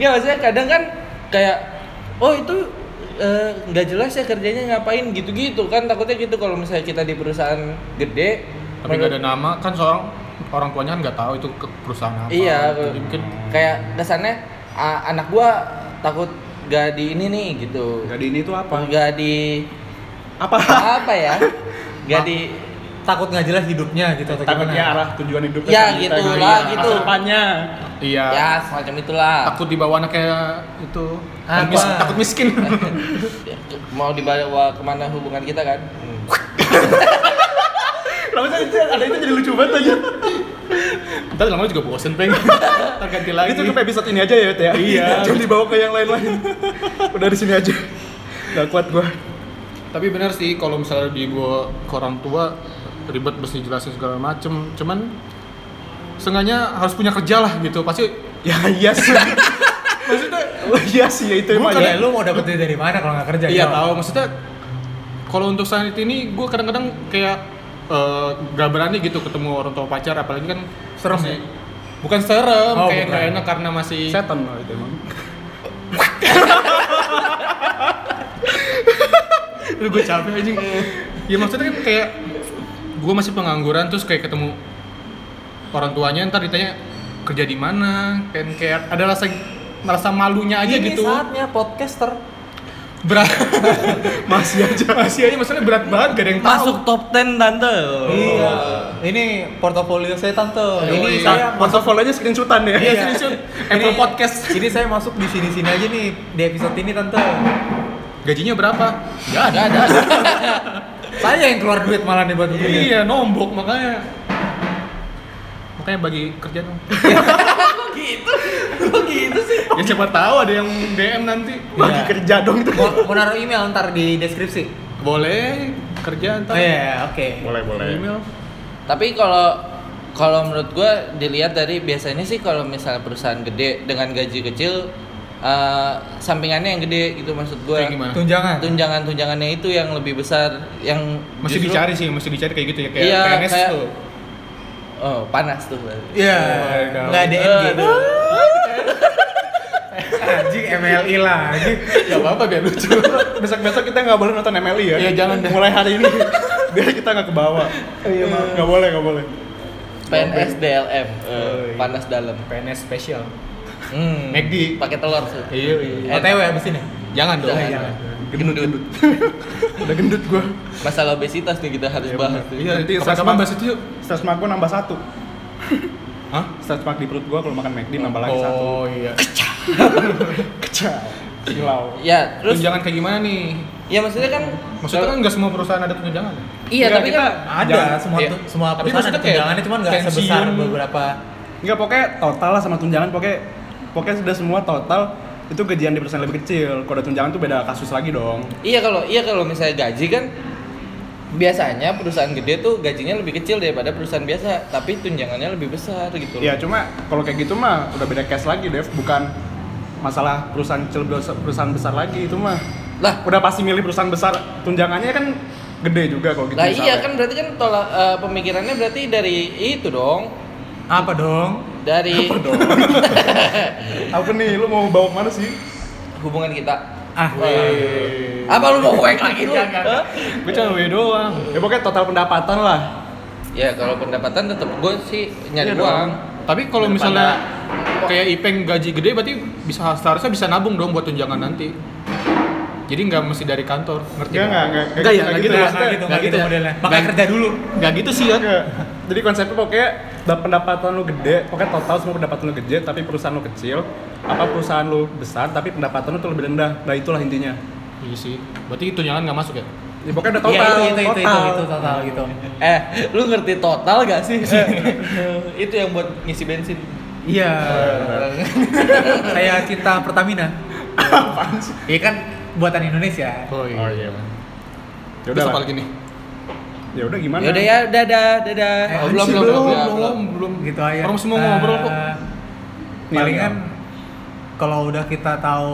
C: Nggak maksudnya kadang kan kayak oh itu eh, nggak jelas ya kerjanya ngapain gitu-gitu kan takutnya gitu kalau misalnya kita di perusahaan gede
E: tapi nggak ada nama kan seorang orang tuanya kan nggak tahu itu ke- perusahaan apa.
C: Iya,
E: Jadi mungkin
C: kayak kesannya "Ah, anak gua takut gak di ini nih gitu.
D: Jadi ini tuh apa?
C: Gak di
D: Apa?
C: apa ya? Gak
A: Ma-
C: di
A: Takut nggak jelas hidupnya gitu atau
D: Takutnya
A: gimana?
D: arah tujuan hidupnya.
C: Ya,
D: sama kita
C: gitu
D: gitu.
C: lah,
D: Iya.
C: gitu.
D: Masa depannya.
E: iya.
C: ya semacam itulah.
E: Takut dibawa anak kayak itu.
A: Apa?
E: Mis- takut miskin.
C: Mau dibawa kemana hubungan kita kan?
D: Kenapa sih itu- ada itu jadi lucu banget aja.
E: Ntar lama juga bosen pengen. Ntar ganti lagi.
D: Itu ke episode ini aja ya, Teh.
E: Iya.
D: Jangan dibawa ke yang lain-lain. Udah di sini aja. Gak kuat gua.
E: tapi benar sih kalau misalnya dibawa ke orang tua ribet mesti jelasin segala macem. Cuman seenggaknya harus punya kerja lah gitu. Pasti
D: Ya iya sih. Maksudnya, iya sih ya itu emang
A: Ya,
D: ya.
A: lu mau dapet duit dari mana kalau nggak kerja? Gitu.
E: Iya
A: Jawab.
E: tahu maksudnya kalau untuk saat ini gue kadang-kadang kayak eh, nggak berani gitu ketemu orang tua pacar apalagi kan
A: Serem
E: masih-
A: ya?
E: bukan serem
A: Oh,
E: kayak
A: bukan.
E: nggak enak karena masih
D: Setan lah itu emang.
E: Aduh, gue capek aja ya maksudnya kan kayak gue masih pengangguran terus kayak ketemu orang tuanya ntar ditanya kerja di mana kan kayak ada rasa merasa malunya aja
A: Ini
E: gitu
A: saatnya podcaster
E: berat masih aja masih aja maksudnya berat banget gak ada yang tahu
C: Masuk top 10 tante.
A: Iya. Ini portofolio saya tante. Ini
E: Oh. iya.
A: saya masuk
D: Portofolionya screenshotan ya.
E: Iya, screenshot. Apple
A: Ini-
E: Podcast.
A: Ini saya masuk di sini-sini aja nih di episode ini tante.
E: gajinya berapa Ya
C: Gak ada. Gak ada.
A: Saya yang keluar duit malah nih buat begini.
E: Iya, nombok makanya. Makanya bagi kerja dong.
C: Kok gitu sih?
E: ya siapa tahu ada yang DM nanti.
D: Bagi
A: Iya.
D: kerja dong itu.
A: Mau, mau naruh email ntar di deskripsi.
E: Boleh kerja
A: Oh
E: ntar.
A: iya, oke.
D: Boleh,
E: Email.
C: Tapi kalau kalau menurut gua dilihat dari biasanya sih kalau misalnya perusahaan gede dengan gaji kecil eh, sampingannya yang gede gitu maksud gua.
E: Kayak gimana?
A: Tunjangan.
C: Tunjangan-tunjangannya itu yang lebih besar yang
E: Mesti
C: justru-
E: dicari sih, mesti dicari kayak gitu ya kayak
C: Iya,
E: PNS
C: kayak-
E: tuh. Oh,
C: Oh, panas tuh. berarti. Eh,
A: Iya.
E: Waduh.
A: Enggak ada
E: gitu.
A: NG.
C: Aduh.
A: Anjing MLI lagi.
E: Gak apa-apa biar lucu.
D: Besok-besok kita nggak boleh nonton MLI ya.
E: Iya, jangan deh.
D: Mulai hari ini biar kita nggak ke bawah.
C: Oh,
D: Iya, Nggak boleh, nggak boleh.
C: PNS DLM, eh,
D: Oh, iya.
C: panas dalam.
A: PNS spesial.
C: Hmm.
E: McD.
C: Pakai telur tuh.
E: Iya, iya.
A: OTW abis ini.
E: Jangan dong. Iya.
C: Jangan.
E: Jangan.
D: Gendut, gendut. Udah gendut gua.
C: Masalah obesitas nih kita harus
D: Iya,
C: bahas.
D: benar.
C: tuh.
E: Iya, nanti
D: Kapan-kapan
E: sama
D: bahas
E: bahas itu yuk.
D: Stres mark gua nambah satu.
E: Hah?
D: Stres mark di perut gua kalau makan McD nambah lagi satu.
E: Oh iya.
D: Kecil. Silau.
C: Ya, terus
E: Tunjangan kayak gimana nih?
C: ya maksudnya kan
E: Maksudnya kan
C: kalau-
E: nggak semua perusahaan ada tunjangan. ya?
C: Iya,
D: Enggak,
C: tapi
D: kita-
C: kan
A: Ada
D: Jangan.
A: semua
E: Iya.
A: semua perusahaan
E: Tapi
A: ada
E: maksudnya kayak
A: tunjangannya cuman nggak sebesar
E: pensiun.
A: beberapa
D: Enggak pokoknya total lah sama tunjangan pokoknya pokoknya sudah semua total itu gajian di perusahaan lebih kecil. Kalau ada tunjangan tuh beda kasus lagi dong.
C: Iya kalau iya kalau misalnya gaji kan biasanya perusahaan gede tuh gajinya lebih kecil daripada perusahaan biasa, tapi tunjangannya lebih besar gitu loh.
D: Iya cuma kalau kayak gitu mah udah beda case lagi Dev, bukan masalah perusahaan kecil perusahaan besar lagi itu mah.
C: Lah,
D: Udah pasti milih perusahaan besar, tunjangannya kan gede juga kalau gitu.
C: lah
D: misalnya.
C: iya kan berarti kan tolak eh, pemikirannya berarti dari itu dong.
A: Apa dong?
C: Dari
D: Apa nih lu mau bawa kemana sih?
C: hubungan kita. Eh,
A: Ah,
E: ya,
C: Apa lu mau wek lagi lu? Hah?
D: Gue cuma gue doang. Ya pokoknya total pendapatan lah.
C: Ya kalau pendapatan tetap gue sih nyari
D: Iya dong.
C: uang.
E: Tapi kalau
D: Daripada-
E: misalnya kayak Ipeng gaji gede berarti bisa seharusnya bisa nabung dong buat tunjangan nanti. Jadi nggak mesti dari kantor, ngerti?
D: Enggak enggak enggak.
E: Enggak ya, enggak gitu ya.
A: Nggak nggak gitu,
E: Nggak
A: nggak
E: gitu
A: gitu
E: ya?
A: modelnya.
E: Nggak-
A: Makanya kerja dulu.
E: Nggak gitu sih ya.
D: Enggak. Jadi konsepnya pokoknya da- pendapatan lu gede, pokoknya total semua pendapatan lu gede tapi perusahaan lu kecil, apa perusahaan lu besar tapi pendapatan lu tuh lebih rendah. Nah itulah intinya.
E: Iya sih. Berarti tunjangan nggak masuk ya?
D: Ya pokoknya udah total.
A: Iya, itu, itu, itu, itu,
D: total.
A: itu, total gitu.
C: Eh, lu ngerti total gak sih? itu yang buat ngisi bensin.
A: Iya, kayak cinta Pertamina. Iya kan buatan Indonesia.
E: Oh iya.
D: Oh iya. man. Ya udah
E: Terus apa
D: lah.
E: lagi nih?
D: Ya udah gimana?
C: Ya udah ya, dadah, dadah.
A: Eh,
E: Oh,
A: apaan
E: belum,
A: sih,
E: belum,
A: belum,
E: belum, belum,
C: belum.
E: belum.
A: Gitu aja.
E: Orang semua
A: Eh,
E: ngobrol kok.
A: Palingan kalau udah kita tahu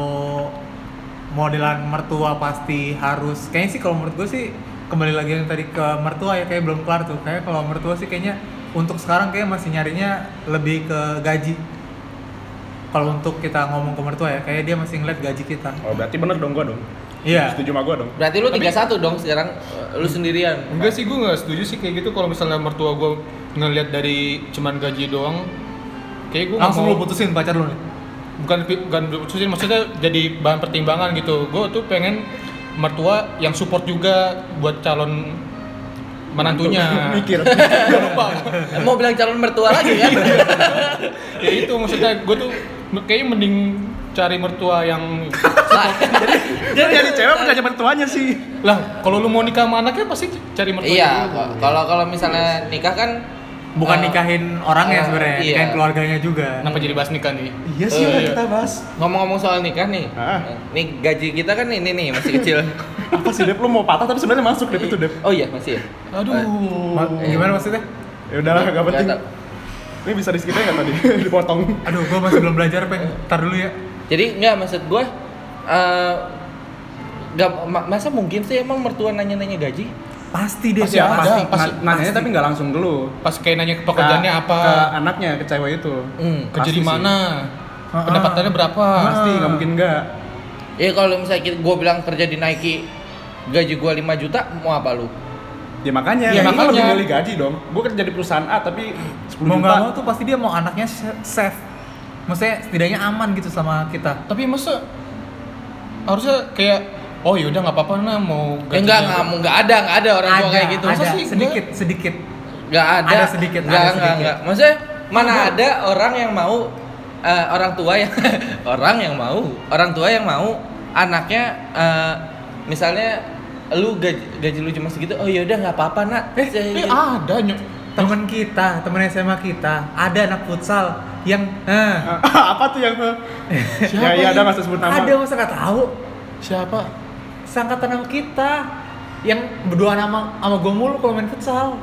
A: modelan mertua pasti harus kayaknya sih kalau menurut gue sih kembali lagi yang tadi ke mertua ya kayak belum kelar tuh kayak kalau mertua sih kayaknya untuk sekarang kayak masih nyarinya lebih ke gaji kalau untuk kita ngomong ke mertua ya kayak dia masih ngeliat gaji kita
D: Oh berarti bener dong gua dong.
A: iya
D: Setuju sama gua dong.
C: Berarti lu 31 dong sekarang eh, lu sendirian.
E: Enggak sih, gue nggak setuju sih kayak gitu. Kalau misalnya mertua gue ngelihat dari cuman gaji doang, kayak gue
A: langsung lu putusin pacar lu nih
E: bukan bukan putusin maksudnya jadi bahan pertimbangan gitu gue tuh pengen mertua yang support juga buat calon menantunya
D: Mikir.
C: Eh, Mau bilang calon mertua lagi kan?
E: ya itu maksudnya gue tuh me- kayaknya mending cari mertua yang
C: Lah,
D: Jadi jadi cewek punya mertuanya sih.
E: lah kalau lu mau nikah sama anaknya pasti cari mertua
C: iya,
E: dulu.
C: kok. kalau kalau misalnya nikah kan
A: bukan
C: eh,
A: nikahin orangnya
C: eh,
A: sebenarnya
C: iya.
A: nikahin keluarganya juga
E: kenapa jadi bahas nikah nih
D: Iya sih
E: Eh,
D: udah
E: iya.
D: kita bahas.
C: ngomong-ngomong soal nikah nih.
D: Ah.
C: Nih gaji kita kan ini nih masih kecil.
D: Apa sih Dep lu mau patah tapi sebenarnya masuk Dep itu Dep.
C: Oh iya, masih ya.
E: aduh
A: Ma- gimana maksudnya
D: Ya udahlah
C: Ah,
D: enggak
C: Nggak
D: penting.
C: tahu.
D: Ini bisa di skip enggak tadi? Dipotong.
A: aduh gue masih belum belajar peng ntar dulu ya
C: Jadi nggak maksud gue, eh nggak ma- masa mungkin sih emang mertua nanya-nanya gaji?
A: pasti deh
E: Pasti ada, pasti.
D: Nah, nanyanya tapi enggak langsung dulu.
E: pas kayak nanya pekerjaannya
D: Ke-
E: apa Nah.
D: Ke anaknya, ke cewek itu.
C: Hmm.
E: kerja di
D: Pasti sih.
E: mana
A: Ah, ah.
E: pendapatannya berapa
D: Pasti nggak mungkin enggak.
C: Ya kalau misalnya gue bilang kerja di Nike gaji gue 5 juta mau apa lu?
D: Ya makanya,
E: Ya,
D: ya,
E: makanya.
D: makanya. lebih milih gaji dong. Gue kerja di perusahaan A tapi 10
A: mau
D: juta.
A: nggak mau tuh pasti dia mau anaknya se- safe maksudnya setidaknya aman gitu sama kita
E: tapi masa harusnya kayak oh yaudah nggak apa-apa nah mau
C: Eh, enggak, enggak, mau- enggak ada, enggak ada orang tua kayak gitu.
A: ada
E: Masa sih gua-
A: sedikit sedikit
C: Enggak ada.
A: Ada sedikit, ada
C: enggak, enggak,
A: sedikit.
C: enggak. Maksudnya mana ada orang yang mau eh, orang tua yang orang yang mau, orang tua yang mau anaknya eh, misalnya lu gaji, gaji lu cuma segitu, oh yaudah nggak apa-apa nak. gitu.
E: eh, eh ada nyok
A: temen kita temen SMA kita ada anak futsal yang eh,
D: apa tuh yang ya iya ada masa sebut nama
A: ada masa nggak tahu
E: siapa
A: sangkatan sama kita yang berdua nama sama gue mulu kalau main futsal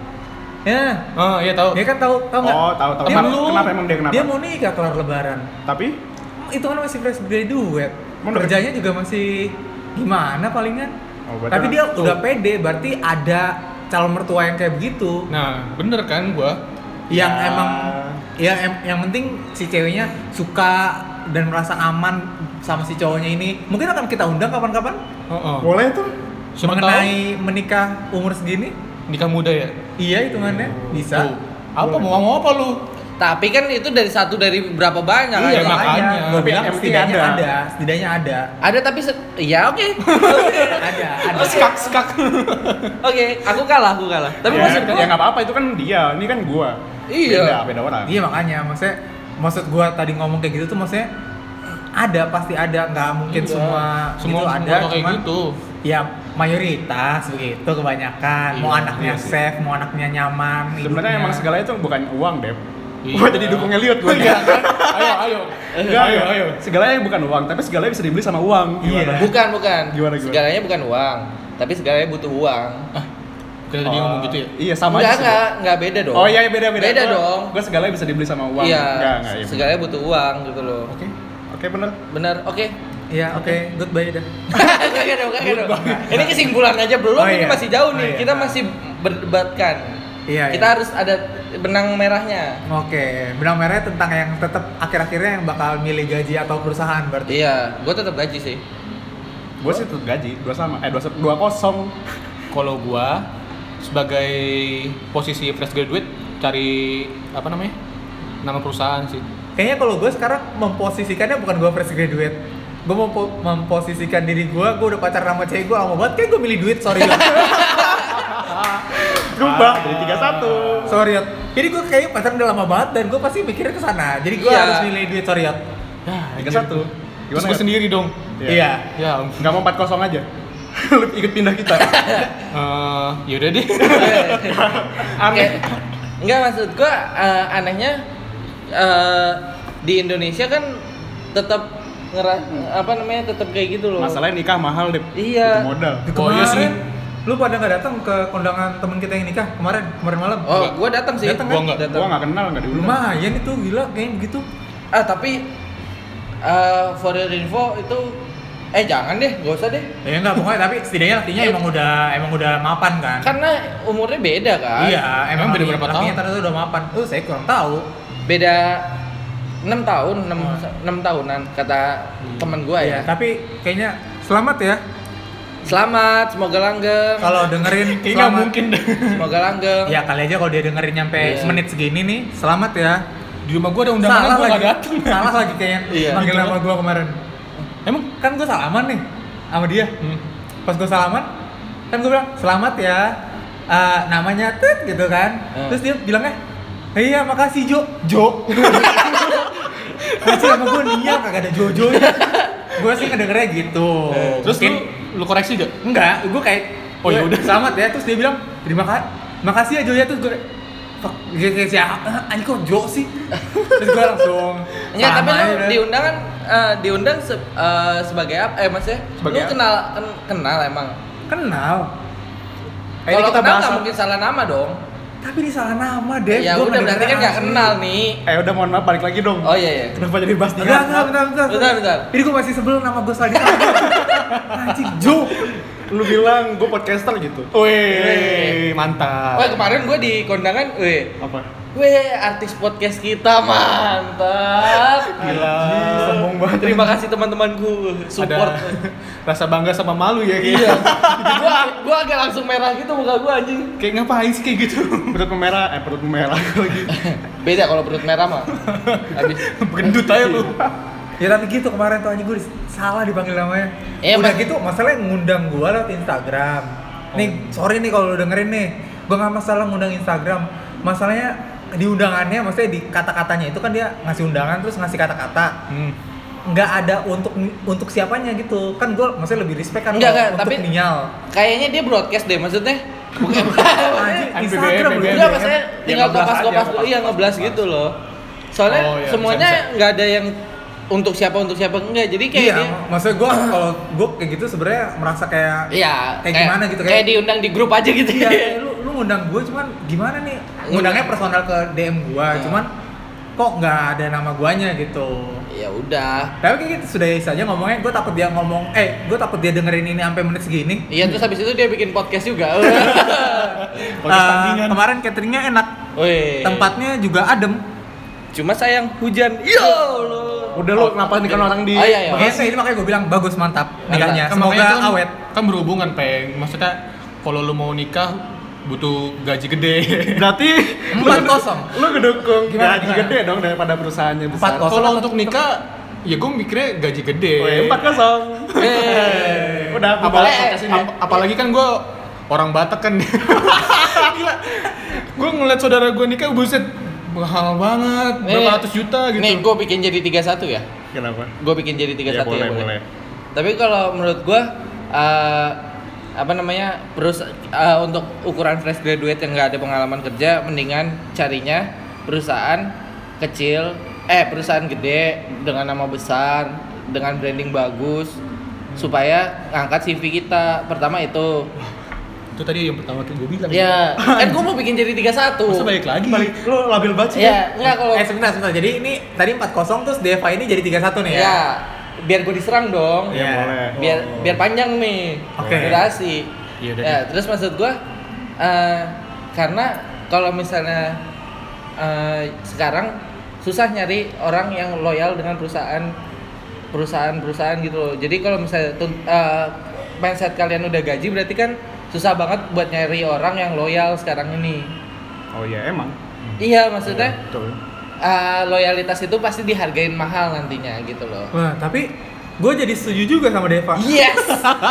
A: ya
E: ah iya tahu
A: dia kan tahu tahu nggak
D: oh tahu tahu
A: Dia
D: kenapa,
A: mau-
D: kenapa emang dia kenapa
A: dia mau nikah kelar lebaran
D: tapi
A: itu kan masih fresh graduate
D: Bener.
A: kerjanya juga masih gimana palingan
D: Oh, berarti
A: tapi dia
D: emang-
A: udah pede berarti ada calon mertua yang kayak begitu
E: nah bener kan gua
A: yang
D: Ya.
A: emang ya em- yang penting si ceweknya suka dan merasa aman sama si cowoknya ini mungkin akan kita undang kapan-kapan
E: Heeh.
D: boleh tuh
E: Siapa tahu
A: mengenai menikah umur segini
E: nikah muda ya
A: iya hitungannya
E: Hmm.
A: bisa
E: Tuh. apa mau ngomong apa lu
C: Tapi kan itu dari satu dari berapa banyak
E: Iya,
C: ada.
E: makanya.
A: gue
D: Tapi
A: bilang
D: yang penting
A: setidaknya
D: ada.
A: ada. setidaknya ada
C: Ada tapi se- ya oke.
A: ada ada
E: skak skak
C: Oke, aku kalah, aku kalah. Tapi
D: ya,
C: maksud gua-
D: ya nggak apa apa itu kan dia ini kan gua
C: Iya.
D: beda beda orang
A: Iya makanya, maksudnya maksud gua tadi ngomong kayak gitu tuh maksudnya ada pasti ada nggak mungkin
E: Iya.
A: semua
E: semua
A: gitu ada
E: ada kayak
A: cuman
E: gitu
A: ya mayoritas begitu kebanyakan mau
E: Iya,
A: anaknya
D: iya sih.
A: safe mau anaknya nyaman
D: sebenarnya
A: hidupnya.
D: emang segala itu bukan uang deh
E: Iya.
D: Gua jadi dukung Elliot gua
E: Iya kan? ayo ayo
D: Enggak,
E: ayo
D: enggak.
E: ayo
D: Segalanya bukan uang, tapi segalanya bisa dibeli sama uang.
A: Iya.
D: Gimana?
C: Bukan, bukan.
D: Gimana, gimana?
C: Segalanya bukan uang, tapi segalanya butuh uang.
E: Kita tadi ngomong gitu ya.
D: Iya sama
C: enggak,
D: aja sih.
C: enggak, enggak beda dong.
D: Oh iya iya, beda beda.
C: Beda dong.
D: Gue segalanya bisa dibeli sama uang.
C: Iya,
D: Enggak enggak. iya,
C: segalanya butuh uang gitu loh.
D: bener. Oke. Oke bener.
C: Benar, oke.
A: Iya, oke, goodbye dah.
C: Kagak dong, kagak dong. Ini kesimpulan aja belum,
A: Oh,
C: ini
A: iya.
C: masih jauh
A: Oh, iya.
C: nih. Kita masih berdebatkan.
A: Iya,
C: Kita
A: iya.
C: harus ada benang merahnya.
A: Oke, benang merahnya tentang yang tetap akhir-akhirnya yang bakal milih gaji atau perusahaan berarti.
C: Iya, gua tetap gaji sih.
D: Gue sih tetap gaji dua sama eh dua se- dua kosong.
E: Kalau gua sebagai posisi fresh graduate cari apa namanya? Nama perusahaan sih.
A: Kayaknya kalau gue sekarang memposisikannya bukan gue fresh graduate. Gue mau po- memposisikan diri gue, gue udah pacar sama cewek gue lama banget, kayak gue milih duit, sorry ya.
E: Ah,
D: Berubah jadi tiga satu.
A: sorry ya. Jadi gue kayaknya pacar udah lama banget dan gue pasti mikirnya ke sana. Jadi gue
C: Iya.
A: harus milih duit, sorry ya.
D: Tiga satu.
E: Terus gua sendiri dong.
A: Iya.
E: Ya ampun.
D: Gak mau empat kosong aja. Lu ikut pindah kita.
E: Eh, yaudah deh.
C: Aneh. Enggak maksud gua eh, anehnya eh, di Indonesia kan tetap ngera apa namanya tetap kayak gitu loh.
D: Masalahnya nikah mahal deh.
C: Iya.
D: Butuh modal.
E: Oh, iya sih.
A: Lu pada nggak datang ke kondangan temen kita yang nikah kemarin, kemarin malam.
C: Oh, gua datang sih.
E: Datang kan? Gua nggak-
C: Datang.
D: Gua nggak kenal nggak diundang.
A: Lumayan itu gila kayak gitu.
C: Ah, tapi eh for your info itu eh jangan deh, gak usah deh.
A: Ya enggak pokoknya tapi setidaknya artinya emang udah emang udah mapan kan.
C: Karena umurnya beda kan.
A: Iya, emang
E: Emang beda
A: laki-
E: berapa
A: lakinya
E: tahun?
A: ternyata udah mapan. Oh, saya kurang tahu.
C: Beda 6 tahun, 6, tahunan kata
D: Hmm.
C: teman gua
D: Iya,
C: ya.
A: Iya,
D: kan?
A: Tapi kayaknya selamat ya
C: Selamat, semoga langgeng.
A: kalau dengerin
D: Kayaknya nggak
A: selamat.
D: mungkin deh.
C: Semoga langgeng.
D: Iya.
A: Ya kali aja kalau dia dengerin nyampe
C: Iya.
A: menit segini nih, selamat ya.
E: Di rumah gua ada undangan gua
A: lagi.
E: gak datang.
A: Salah lagi kayaknya.
C: Iya.
A: Manggil
E: Gitu
A: nama gua kemarin.
E: Emang
A: Kan gua salaman nih sama dia.
E: Hmm.
A: Pas gua salaman, kan gua bilang, "Selamat ya." Eh, namanya Tet gitu kan.
C: Hmm.
A: Terus dia bilangnya, "Iya, makasih Jo." Jo. Masih sama gua Nia kagak ada Jojo-nya. gua sih ngedengernya gitu.
E: Terus
A: Mungkin-
E: lu, lu koreksi gak?
A: Enggak, gue kayak
E: Oh,
A: gue,
E: yaudah.
A: Selamat ya, terus dia bilang terima kasih. Makasih ya Jo ya terus gue fuck dia kayak siapa? Anjir kok Jo sih? terus gue langsung
C: Enggak, Iya, tapi
A: sama
C: lu
D: ya.
A: aja.
C: diundang kan eh, diundang se- eh, sebagai apa? Eh, maksudnya
D: Sebagai
C: lu
D: apa?
C: kenal ken- kenal emang.
A: kenal.
D: Eh, ini
C: Kalau
D: kita
C: kenal
D: bahas.
C: nggak mungkin salah nama dong.
A: Tapi ini salah nama deh.
C: Ya udah berarti kan nggak kenal nih.
D: Eh udah mohon maaf balik lagi dong.
C: Oh iya iya.
D: Kenapa jadi bahas tiga?
A: Enggak, enggak, bentar, bentar.
C: Bentar, bentar.
A: Ini gue masih sebel nama gue salah dikenal. Anjing Jo.
D: Lu bilang gue podcaster gitu.
E: Wih, Eh, mantap.
C: Wah kemarin gue di kondangan, weh,
D: Apa?
C: weh artis podcast kita mantap.
D: Gila. Sombong banget.
C: Terima kasih teman-temanku support.
E: Ada rasa bangga sama malu ya kayak.
C: Iya. gua gua agak langsung merah gitu muka gua anjing.
E: Kayak ngapain sih kayak gitu?
D: Perut memerah, eh perut memerah lagi.
C: Beda kalau perut merah mah. Habis
E: Gendut aja lu.
A: Ya tapi gitu kemarin tuh anjing gue salah dipanggil namanya.
C: Iya,
A: Udah
C: Mas.
A: gitu masalahnya ngundang gue lewat Instagram.
C: Oh.
A: Nih, sorry nih kalau lu dengerin nih. Gue nggak masalah ngundang Instagram. Masalahnya di undangannya maksudnya di kata-katanya itu kan dia ngasih undangan terus ngasih kata-kata.
C: Hmm.
A: Nggak ada untuk untuk siapanya gitu. Kan gue maksudnya lebih respect kan
C: Nggak,
A: kalau
C: nggak,
A: untuk
C: tapi-
A: Nial.
C: kayaknya dia broadcast deh maksudnya. Bukan.
A: Anjing,
E: NBBM,
A: Instagram lu.
E: NBBM.
C: Enggak maksudnya
D: Ya,
C: tinggal
D: ngeblas
C: kopas
D: aja,
C: kopas
D: kopas-kopas.
C: iya ngeblas gitu loh. Soalnya
E: Oh, iya, bisa,
C: semuanya nggak ada yang untuk siapa untuk siapa enggak. Jadi kayak
A: Iya,
C: dia
A: maksudnya gue kalau gue kayak gitu sebenarnya merasa kayak
C: Iya,
A: kayak gimana gitu
C: kayak, diundang di grup aja gitu
A: Iya, kayak lu lu ngundang gue cuman gimana nih? Ngundangnya personal ke DM gue,
C: Iya.
A: cuman kok nggak ada nama guanya gitu.
C: ya udah
A: Tapi kayak gitu sudah saja ngomongnya, gue takut dia ngomong, eh gue takut dia dengerin ini sampai menit segini.
C: iya terus habis itu dia bikin podcast juga
A: Eh, kemarin cateringnya enak,
C: Weh.
D: Iya.
A: tempatnya juga adem.
C: cuma sayang hujan yo
D: Udah lu kenapa nih kan orang di
C: Oh, iya, iya.
A: Makanya ini makanya gue bilang bagus mantap
D: Iya.
A: nikahnya.
E: Kan makanya
A: Semoga
E: itu kan-
A: awet.
E: Kan berhubungan, Peng. Maksudnya kalau lu mau nikah butuh gaji gede.
D: Berarti
A: Empat kosong.
D: lu ngedukung
A: Gimana,
D: gaji
A: gimana?
D: gede dong daripada perusahaannya
A: Empat
D: besar.
A: kosong.
E: Kalau untuk nikah ya gue mikirnya gaji gede.
D: Weh, Oh, iya, Empat kosong.
C: Eh.
D: Udah aku
E: Apalagi,
D: bahas podcast ini.
E: ap- apalagi kan gue orang Batak kan. gue ngeliat saudara gue nikah buset mahal banget, berapa ratus juta gitu.
C: Eh, nih gue bikin jadi 31 ya
D: Kenapa?
C: gue bikin jadi 31
D: Iya,
C: ya,
D: boleh, boleh.
C: tapi kalau menurut gue eh, apa namanya terus eh, untuk ukuran fresh graduate yang nggak ada pengalaman kerja mendingan carinya perusahaan kecil eh perusahaan gede dengan nama besar dengan branding bagus supaya ngangkat CV kita pertama itu
E: itu tadi yang pertama gue bilang
C: Ya, kan gue mau bikin jadi 31
E: Iya. masa ya? balik lagi
D: Balik, lu labil banget sih.
C: Ya, enggak kalau
A: Eh sebentar, sebentar. Jadi ini tadi 4-0 terus DFA ini jadi 3-1 nih ya?
C: ya biar gue diserang dong.
D: Ya,
A: Iya.
D: Iya, boleh.
C: biar biar panjang nih
A: Oke.
C: durasi
E: Iya, udah
C: ya terus maksud gua eh, karena kalau misalnya eh, sekarang susah nyari orang yang loyal dengan perusahaan perusahaan perusahaan gitu loh jadi kalau misalnya tun- eh, mindset kalian udah gaji berarti kan susah banget buat nyari orang yang loyal sekarang ini
D: Oh iya emang.
E: Hmm.
C: iya maksudnya
D: Betul.
C: eh, loyalitas itu pasti dihargain mahal nantinya gitu loh
A: Wah, tapi gue jadi setuju juga sama Deva.
C: yes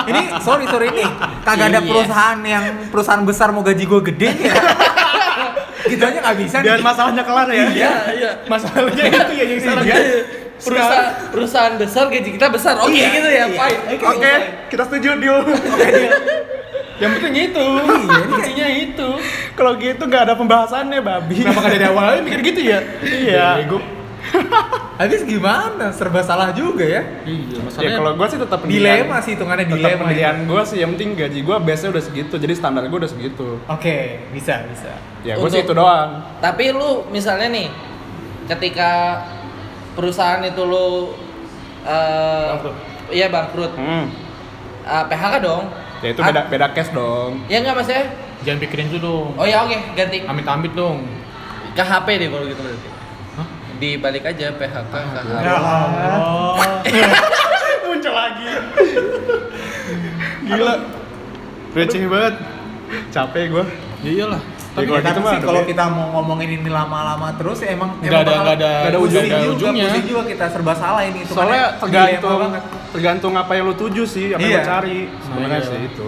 A: ini sorry sorry ini kagak ada
D: ya.
C: Yes.
A: perusahaan yang perusahaan besar mau gaji gue gede nih ya. gitu aja nggak bisa nih.
D: Dan masalahnya kelar ya. Iya, iya. Masalahnya itu ya yang salah.
A: Iya.
C: perusahaan perusahaan besar gaji kita besar oke
A: Iya,
C: gitu
A: iya.
C: ya fine
D: Oke, kita setuju deal. yang penting itu. Intinya itu. Kalau gitu nggak ada pembahasannya, babi.
E: kenapa gak dari awal aja mikir gitu ya
D: Iya.
A: habis gimana serba salah juga ya
E: iya
D: Ya
E: masalahnya
D: kalau gua sih tetap pendirian.
A: dilema sih hitungannya
D: Tetap
A: dilema ya.
D: pendirian
A: itu.
D: Iya, gua sih yang penting gaji gua biasanya udah segitu. Jadi standar gua udah segitu.
A: oke bisa bisa
D: Ya gua
C: Untuk-
D: sih itu doang.
C: tapi lu misalnya nih ketika perusahaan itu lu eh,
E: Bangkrut.
C: iya bangkrut
D: Hmm.
C: Eh, PHK dong
D: Ya itu
C: Ah,
D: beda beda cash dong.
C: ya nggak mas ya
E: jangan pikirin itu dong
C: oh ya oke ganti
D: Ah.
E: amit-amit dong
C: ke HP deh kalau gitu berarti dibalik aja PHK ke HP
A: Ya
D: Ya, Muncul lagi.
B: Gila. Receh banget.
D: Capek gua.
E: ya iyalah
A: tapi
D: kalau
A: kita
D: gitu mah
A: sih
D: ada
A: kalau
D: be-
A: kita mau ngomongin ini lama-lama terus ya emang
E: Nggak
A: emang
E: ada-
A: bakal-
E: nggak ada-
A: nggak ada
E: nggak
A: ujung
E: ada
A: ujungnya
E: ujungnya.
A: pusing juga kita serba salah ini hitungannya.
D: Soalnya
A: Dilema
D: tergantung
A: banget.
D: tergantung apa yang lu tuju sih,
A: ya,
D: apa
A: Iya.
D: yang lu cari. Sebenarnya
E: iya.
D: sih itu.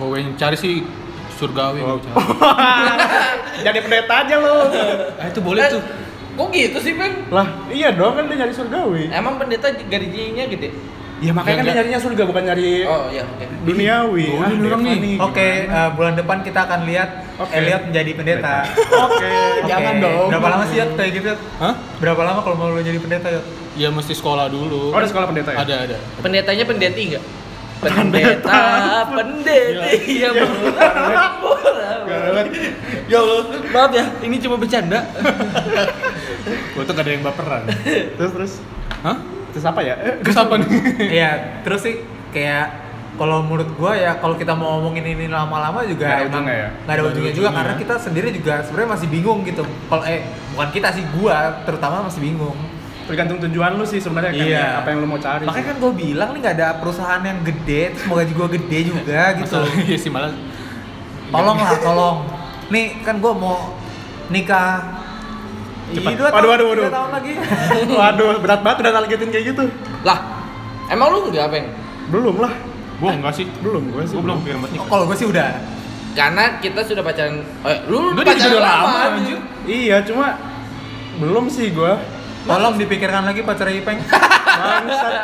E: kowe yang cari sih surgawi
D: Oh.
E: yang cari.
D: Jadi pendeta aja lu.
E: ah itu boleh tuh
C: kok gitu sih Ben?
D: lah, iya dong kan dia nyari surgawi.
C: emang pendeta gajinya gede
D: Ya makanya kan dia
E: Enggak.
D: nyarinya surga bukan nyari Ah,
C: oh ya oke
D: duniawi.
E: Oh, ini orang
D: Deva
E: nih.
A: Oke, eh, bulan depan kita akan lihat
D: Oke.
A: Elliot menjadi pendeta.
D: Oke,
A: Oke.
D: jangan dong.
A: Berapa lama sih Yot kayak gitu? Yot?
E: hah
A: Berapa lama kalau mau lo jadi pendeta Yot?
E: ya mesti sekolah dulu
D: Oh, ada sekolah pendeta ya?
E: ada ada
C: pendetanya pendeti nggak pendeta pendeti ya ya Allah maaf ya ini cuma bercanda
E: gue tuh gak ada yang baperan
D: Terus terus
E: hah
D: terus apa ya? Eh,
E: terus apa nih
A: Iya, terus sih kayak kalau menurut gua ya kalau kita mau ngomongin ini lama-lama juga
D: Nggak ada
A: emang
D: ujungnya ya?
A: nggak ada ujungnya juga karena kita sendiri juga sebenarnya masih bingung gitu. Kalau eh bukan kita sih gua terutama masih bingung.
D: Tergantung tujuan lu sih sebenarnya kan
A: Iya.
D: ya, apa yang lu mau cari.
A: Makanya kan gua bilang nih nggak ada perusahaan yang gede, terus mau gaji gua gede juga gitu.
E: Masalah- iya sih malah
A: Tolong lah, tolong. Nih kan gua mau nikah.
D: Cepat.
A: Ih, dua
D: Waduh,
A: tahun-
D: waduh, waduh.
A: dua tahun lagi.
D: Waduh, berat banget udah targetin kayak gitu.
C: lah emang lu nggak peng
D: Belum lah.
E: gue enggak sih
D: Belum gua sih.
E: gue belum pikir buat nikah
A: kalau gua sih udah.
C: karena kita sudah pacaran eh, lu
E: Gua
C: pacaran
E: juga udah
C: lama,
E: lama,
C: anjir.
D: Iya, cuma belum sih gua.
A: Tolong dipikirkan lagi pacar Ipeng.
D: Bangsat.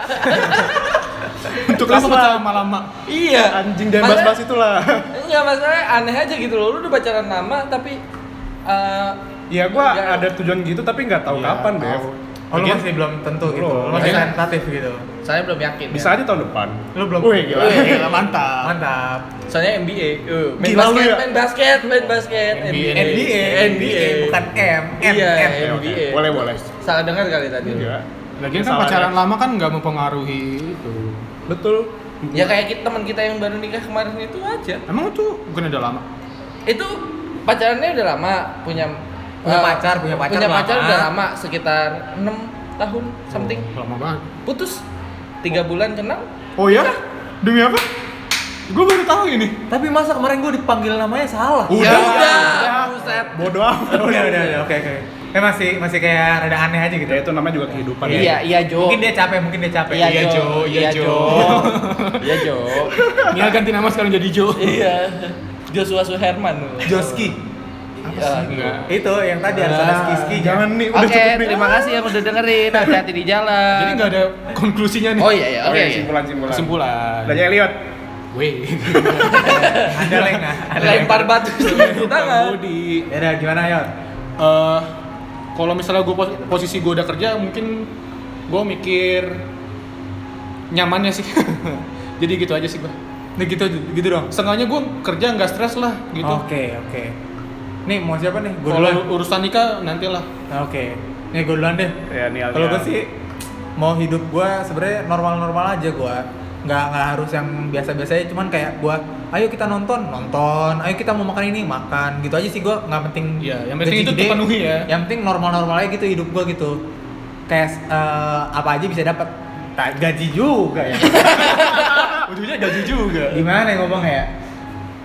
E: untuk
D: Terus
E: apa
D: lah.
E: pacaran lama-lama
C: iya
D: Anjing jangan bahas-bahas itulah.
C: enggak masalahnya aneh aja gitu loh lu udah pacaran lama tapi eh,
D: Iya, gua
C: Iya.
D: ada tujuan gitu tapi nggak tahu
E: Iya,
D: kapan, Dev.
E: tahu.
A: Oh, lu
E: Lagian-
A: masih belum tentu gitu.
D: Belum.
A: Lu masih
E: Lagian-
A: tentatif gitu.
C: saya belum yakin ya.
D: Bisa aja tahun depan.
A: Lu belum-
D: Wih,
E: Eh, Iya.
D: gila.
C: Wih, gila,
E: Ah.
D: mantap.
A: Mantap.
C: ya. soalnya NBA eh, main,
D: Gila lu
C: basket,
D: ya.
C: main basket main basket
E: NBA.
A: NBA,
C: NBA.
A: bukan M, M,
C: Iya,
A: M.
D: Eh, Oke, oke.
C: NBA.
D: Boleh, boleh.
C: salah dengar kali tadi lu.
D: Iya.
E: Iya. lagian kan
D: Salah
E: pacaran
D: ya.
E: lama kan nggak mempengaruhi itu
D: Betul.
C: Ya kayak kita, teman kita yang baru nikah kemarin itu aja.
E: emang itu bukan udah lama
C: Itu pacarannya udah lama, punya
A: Punya
C: eh,
A: pacar, punya pacar
C: punya pacar
A: lama.
C: udah lama Oh. sekitar 6 tahun something.
E: Oh, lama banget
C: Putus 3 bulan kenal.
E: oh ya demi apa gue baru tahu ini
A: Tapi masa kemarin gue dipanggil namanya salah?
E: Udah.
C: Ya udah, buset.
D: Bodoh amat.
A: udah, udah, udah, oke, oke. Eh masih masih kayak rada aneh aja gitu.
D: Ya itu namanya juga kehidupan. ya.
C: Iya, iya Jo.
A: Mungkin dia capek, mungkin dia capek.
C: Iya, Jo.
E: iya, Jo.
C: Iya Jo.
E: Mia ganti nama sekarang jadi Jo
C: Iya. Joshua Suherman. Iya.
A: Joski.
E: enggak
A: Itu yang tadi harus ada ski-ski.
D: Jangan nih, udah
C: Oke,
D: cukup nih.
C: terima kasih yang udah dengerin. Hati-hati di jalan.
E: jadi nggak ada konklusinya nih
C: Oh iya, iya.
D: Oke,
C: Oke.
D: simpulan, simpulan.
E: kesimpulan
D: Dari Elliot.
E: weh
A: Ada lengah. Ada
C: Lempar batu di tangan.
E: Budi
A: Ya udah, gimana Yot?
E: eh kalau misalnya gue posisi gue udah kerja mungkin gue mikir nyamannya sih jadi gitu aja sih gue
A: Nih gitu gitu dong.
E: Setengahnya gue kerja nggak stres lah gitu.
A: Oke, oke. Nih mau siapa nih? Gue duluan.
E: Kalau urusan nikah nantilah.
A: Nah, Oke. Nih gue duluan deh.
E: Iya,
D: Ya, Nial,
A: Kalau gue
D: Nial.
A: sih mau hidup gue sebenarnya normal-normal aja gue. Nggak nggak harus yang biasa-biasanya. Cuman kayak gue, ayo kita nonton, nonton. Ayo kita mau makan ini, makan. Gitu aja sih gue. Nggak penting.
E: Iya, yang penting
A: gaji
E: itu
A: gede.
E: terpenuhi ya.
A: Yang penting normal-normal aja gitu hidup gue gitu. Kayak eh, apa aja bisa dapat. Tak gaji juga ya.
E: Ujungnya gaji juga.
A: gimana ya ngomongnya ya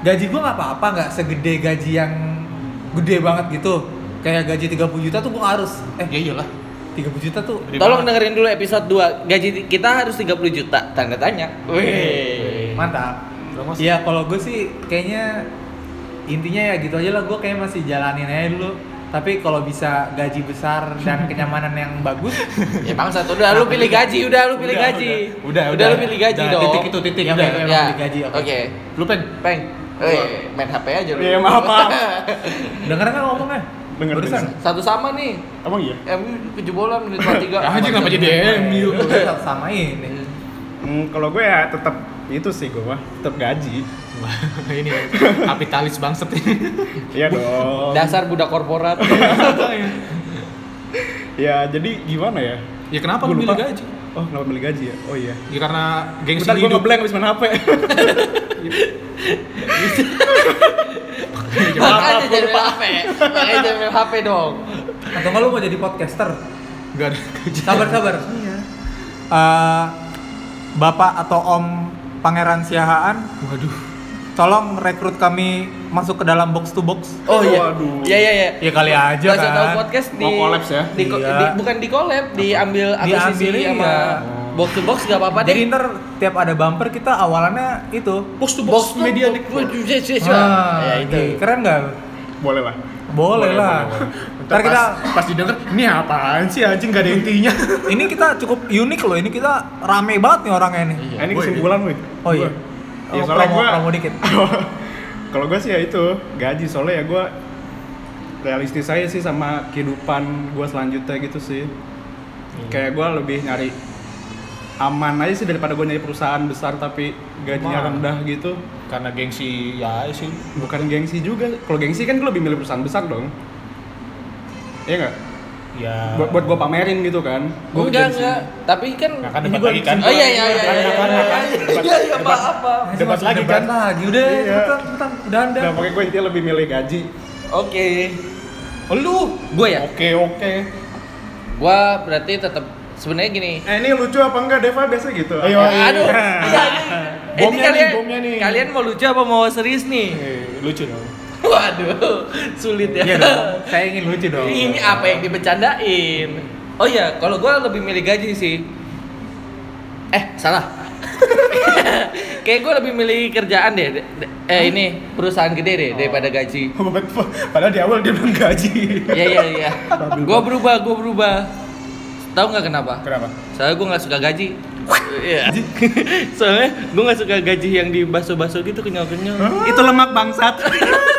A: gaji gua nggak apa-apa nggak segede gaji yang gede banget gitu kayak gaji 30 juta tuh gua harus eh
E: Ya iyalah.
A: 30 juta tuh
C: Tolong dengerin dulu episode 2. Gaji di- kita harus 30 juta. Tanda tanya. Wih.
A: mantap
E: Promosi.
A: iya kalau gue sih kayaknya intinya ya gitu aja lah gue kayak masih jalanin aja dulu tapi kalau bisa gaji besar dan kenyamanan yang bagus
C: Ya bangsa tuh udah lu pilih gaji, udah lu pilih gaji.
E: Udah,
C: udah.
E: udah.
C: lu pilih gaji
E: Udah,
C: dong.
E: titik itu, titik,
A: yang
E: udah.
A: memang
C: Ya.
A: digaji oke
C: Oke.
E: Lu peng.
C: Peng. Eh, main HP aja lu.
D: Iya, maaf, maaf.
A: denger nggak ngomongnya
D: Denger,
A: Barusan?
D: denger.
C: Satu sama nih.
D: Emang iya?
C: Em kejebolan menit 43.
E: Ya, anjing, kenapa jadi MU?
A: Barusan Iya, sama ini
D: Hmm, kalau gue ya tetap itu sih gue mah tetap gaji.
E: ini ya, kapitalis bangsat ini.
D: Iya dong.
C: Dasar budak korporat.
D: Ya jadi gimana ya?
E: ya kenapa
D: Gua
E: lu milih
D: lupa.
E: gaji?
D: Oh kenapa milih gaji ya? Oh iya.
E: Ya karena gengsi
D: Bentar gue
E: hidup.
D: ngeblank abis main HP.
C: Iya. Makanya jangan main HP. Makanya jangan main HP dong.
A: atau nggak lu mau jadi podcaster
E: Enggak ada gaji.
A: sabar sabar
C: Iya.
A: Eh, bapak atau om pangeran siahaan
E: Waduh.
A: tolong rekrut kami masuk ke dalam box to box
C: Oh iya.
D: Waduh.
C: Iya iya iya.
A: ya kali aja
C: Kasih tahu
A: kan
C: podcast di
D: Mau collabs ya?
C: Di, ko-
A: Iya.
C: di- bukan di collab, diambil akuisisi
A: Diambil,
C: sama
A: iya.
C: box to box gak apa-apa deh.
A: jadi ntar tiap ada bumper kita awalannya itu
E: Box to box,
C: to
E: media nih.
C: box. Waduh, yes, yes, yes.
A: Ah,
C: Ya itu.
A: iya. keren nggak
D: Boleh lah.
A: boleh lah
D: boleh.
A: ntar kita
D: pas, pas didengar ini apaan sih anjing gak ada intinya.
A: ini kita cukup unik loh ini kita rame banget nih orangnya nih
D: Nah, ini kesimpulan wih.
A: oh iya
D: Ya,
A: Oh,
D: soalnya
A: promo,
D: gua-
A: promo dikit
D: kalau gue sih ya itu gaji soalnya ya gue realistis aja sih sama kehidupan gue selanjutnya gitu sih kayak gue lebih nyari aman aja sih daripada gue nyari perusahaan besar tapi gajinya
A: Wah.
D: rendah gitu
E: Karena gengsi ya sih.
D: bukan gengsi juga kalau gengsi kan gue lebih milih perusahaan besar dong Iya nggak?
E: Ya.
D: Buat, buat gue pamerin gitu kan Gua
C: Enggak,
D: kerja di
C: enggak. Tapi kan
E: Nah, kan
A: Ini
E: debat
A: gua-
E: lagi kan.
C: Oh iya iya iya. iya,
A: kan.
D: Debat,
C: iya,
D: debat,
C: iya.
D: debat,
C: Iya, iya,
D: debat.
C: apa-apa.
A: Masih
D: Debat
A: masuk
D: lagi
A: debat
D: kan?
A: lagi udah
D: Iya.
A: cepetan cepetan udah
D: sini.
A: anda
D: Nah pokoknya gue intinya lebih milih gaji
C: Oke.
E: Oh, lu.
C: Gue ya.
E: Oke, oke.
C: Gue berarti tetap sebenarnya gini.
D: Eh ini lucu apa enggak Deva biasa gitu
E: Ayo.
D: Eh,
C: Aduh. iya, ini- Ini
E: Bomnya nih,
C: kalian
E: bomnya nih.
C: kalian mau lucu apa mau serius nih?
E: lucu dong.
C: Waduh, sulit ya.
A: Iya dong, saya ingin lucu dong.
C: Ini apa yang dibecandain? Iya. Oh iya, kalau gua lebih milih gaji sih. Eh, salah. Kayak gua lebih milih kerjaan deh. de- de- Eh ini perusahaan gede deh daripada gaji.
D: Padahal di awal dia bilang gaji
C: Iya iya iya. Gua berubah, gua berubah. Tahu nggak kenapa?
D: Kenapa?
C: Soalnya gua nggak suka gaji. Iya. Soalnya gua nggak suka gaji yang di baso-baso gitu kenyal-kenyal.
D: Itu lemak bangsat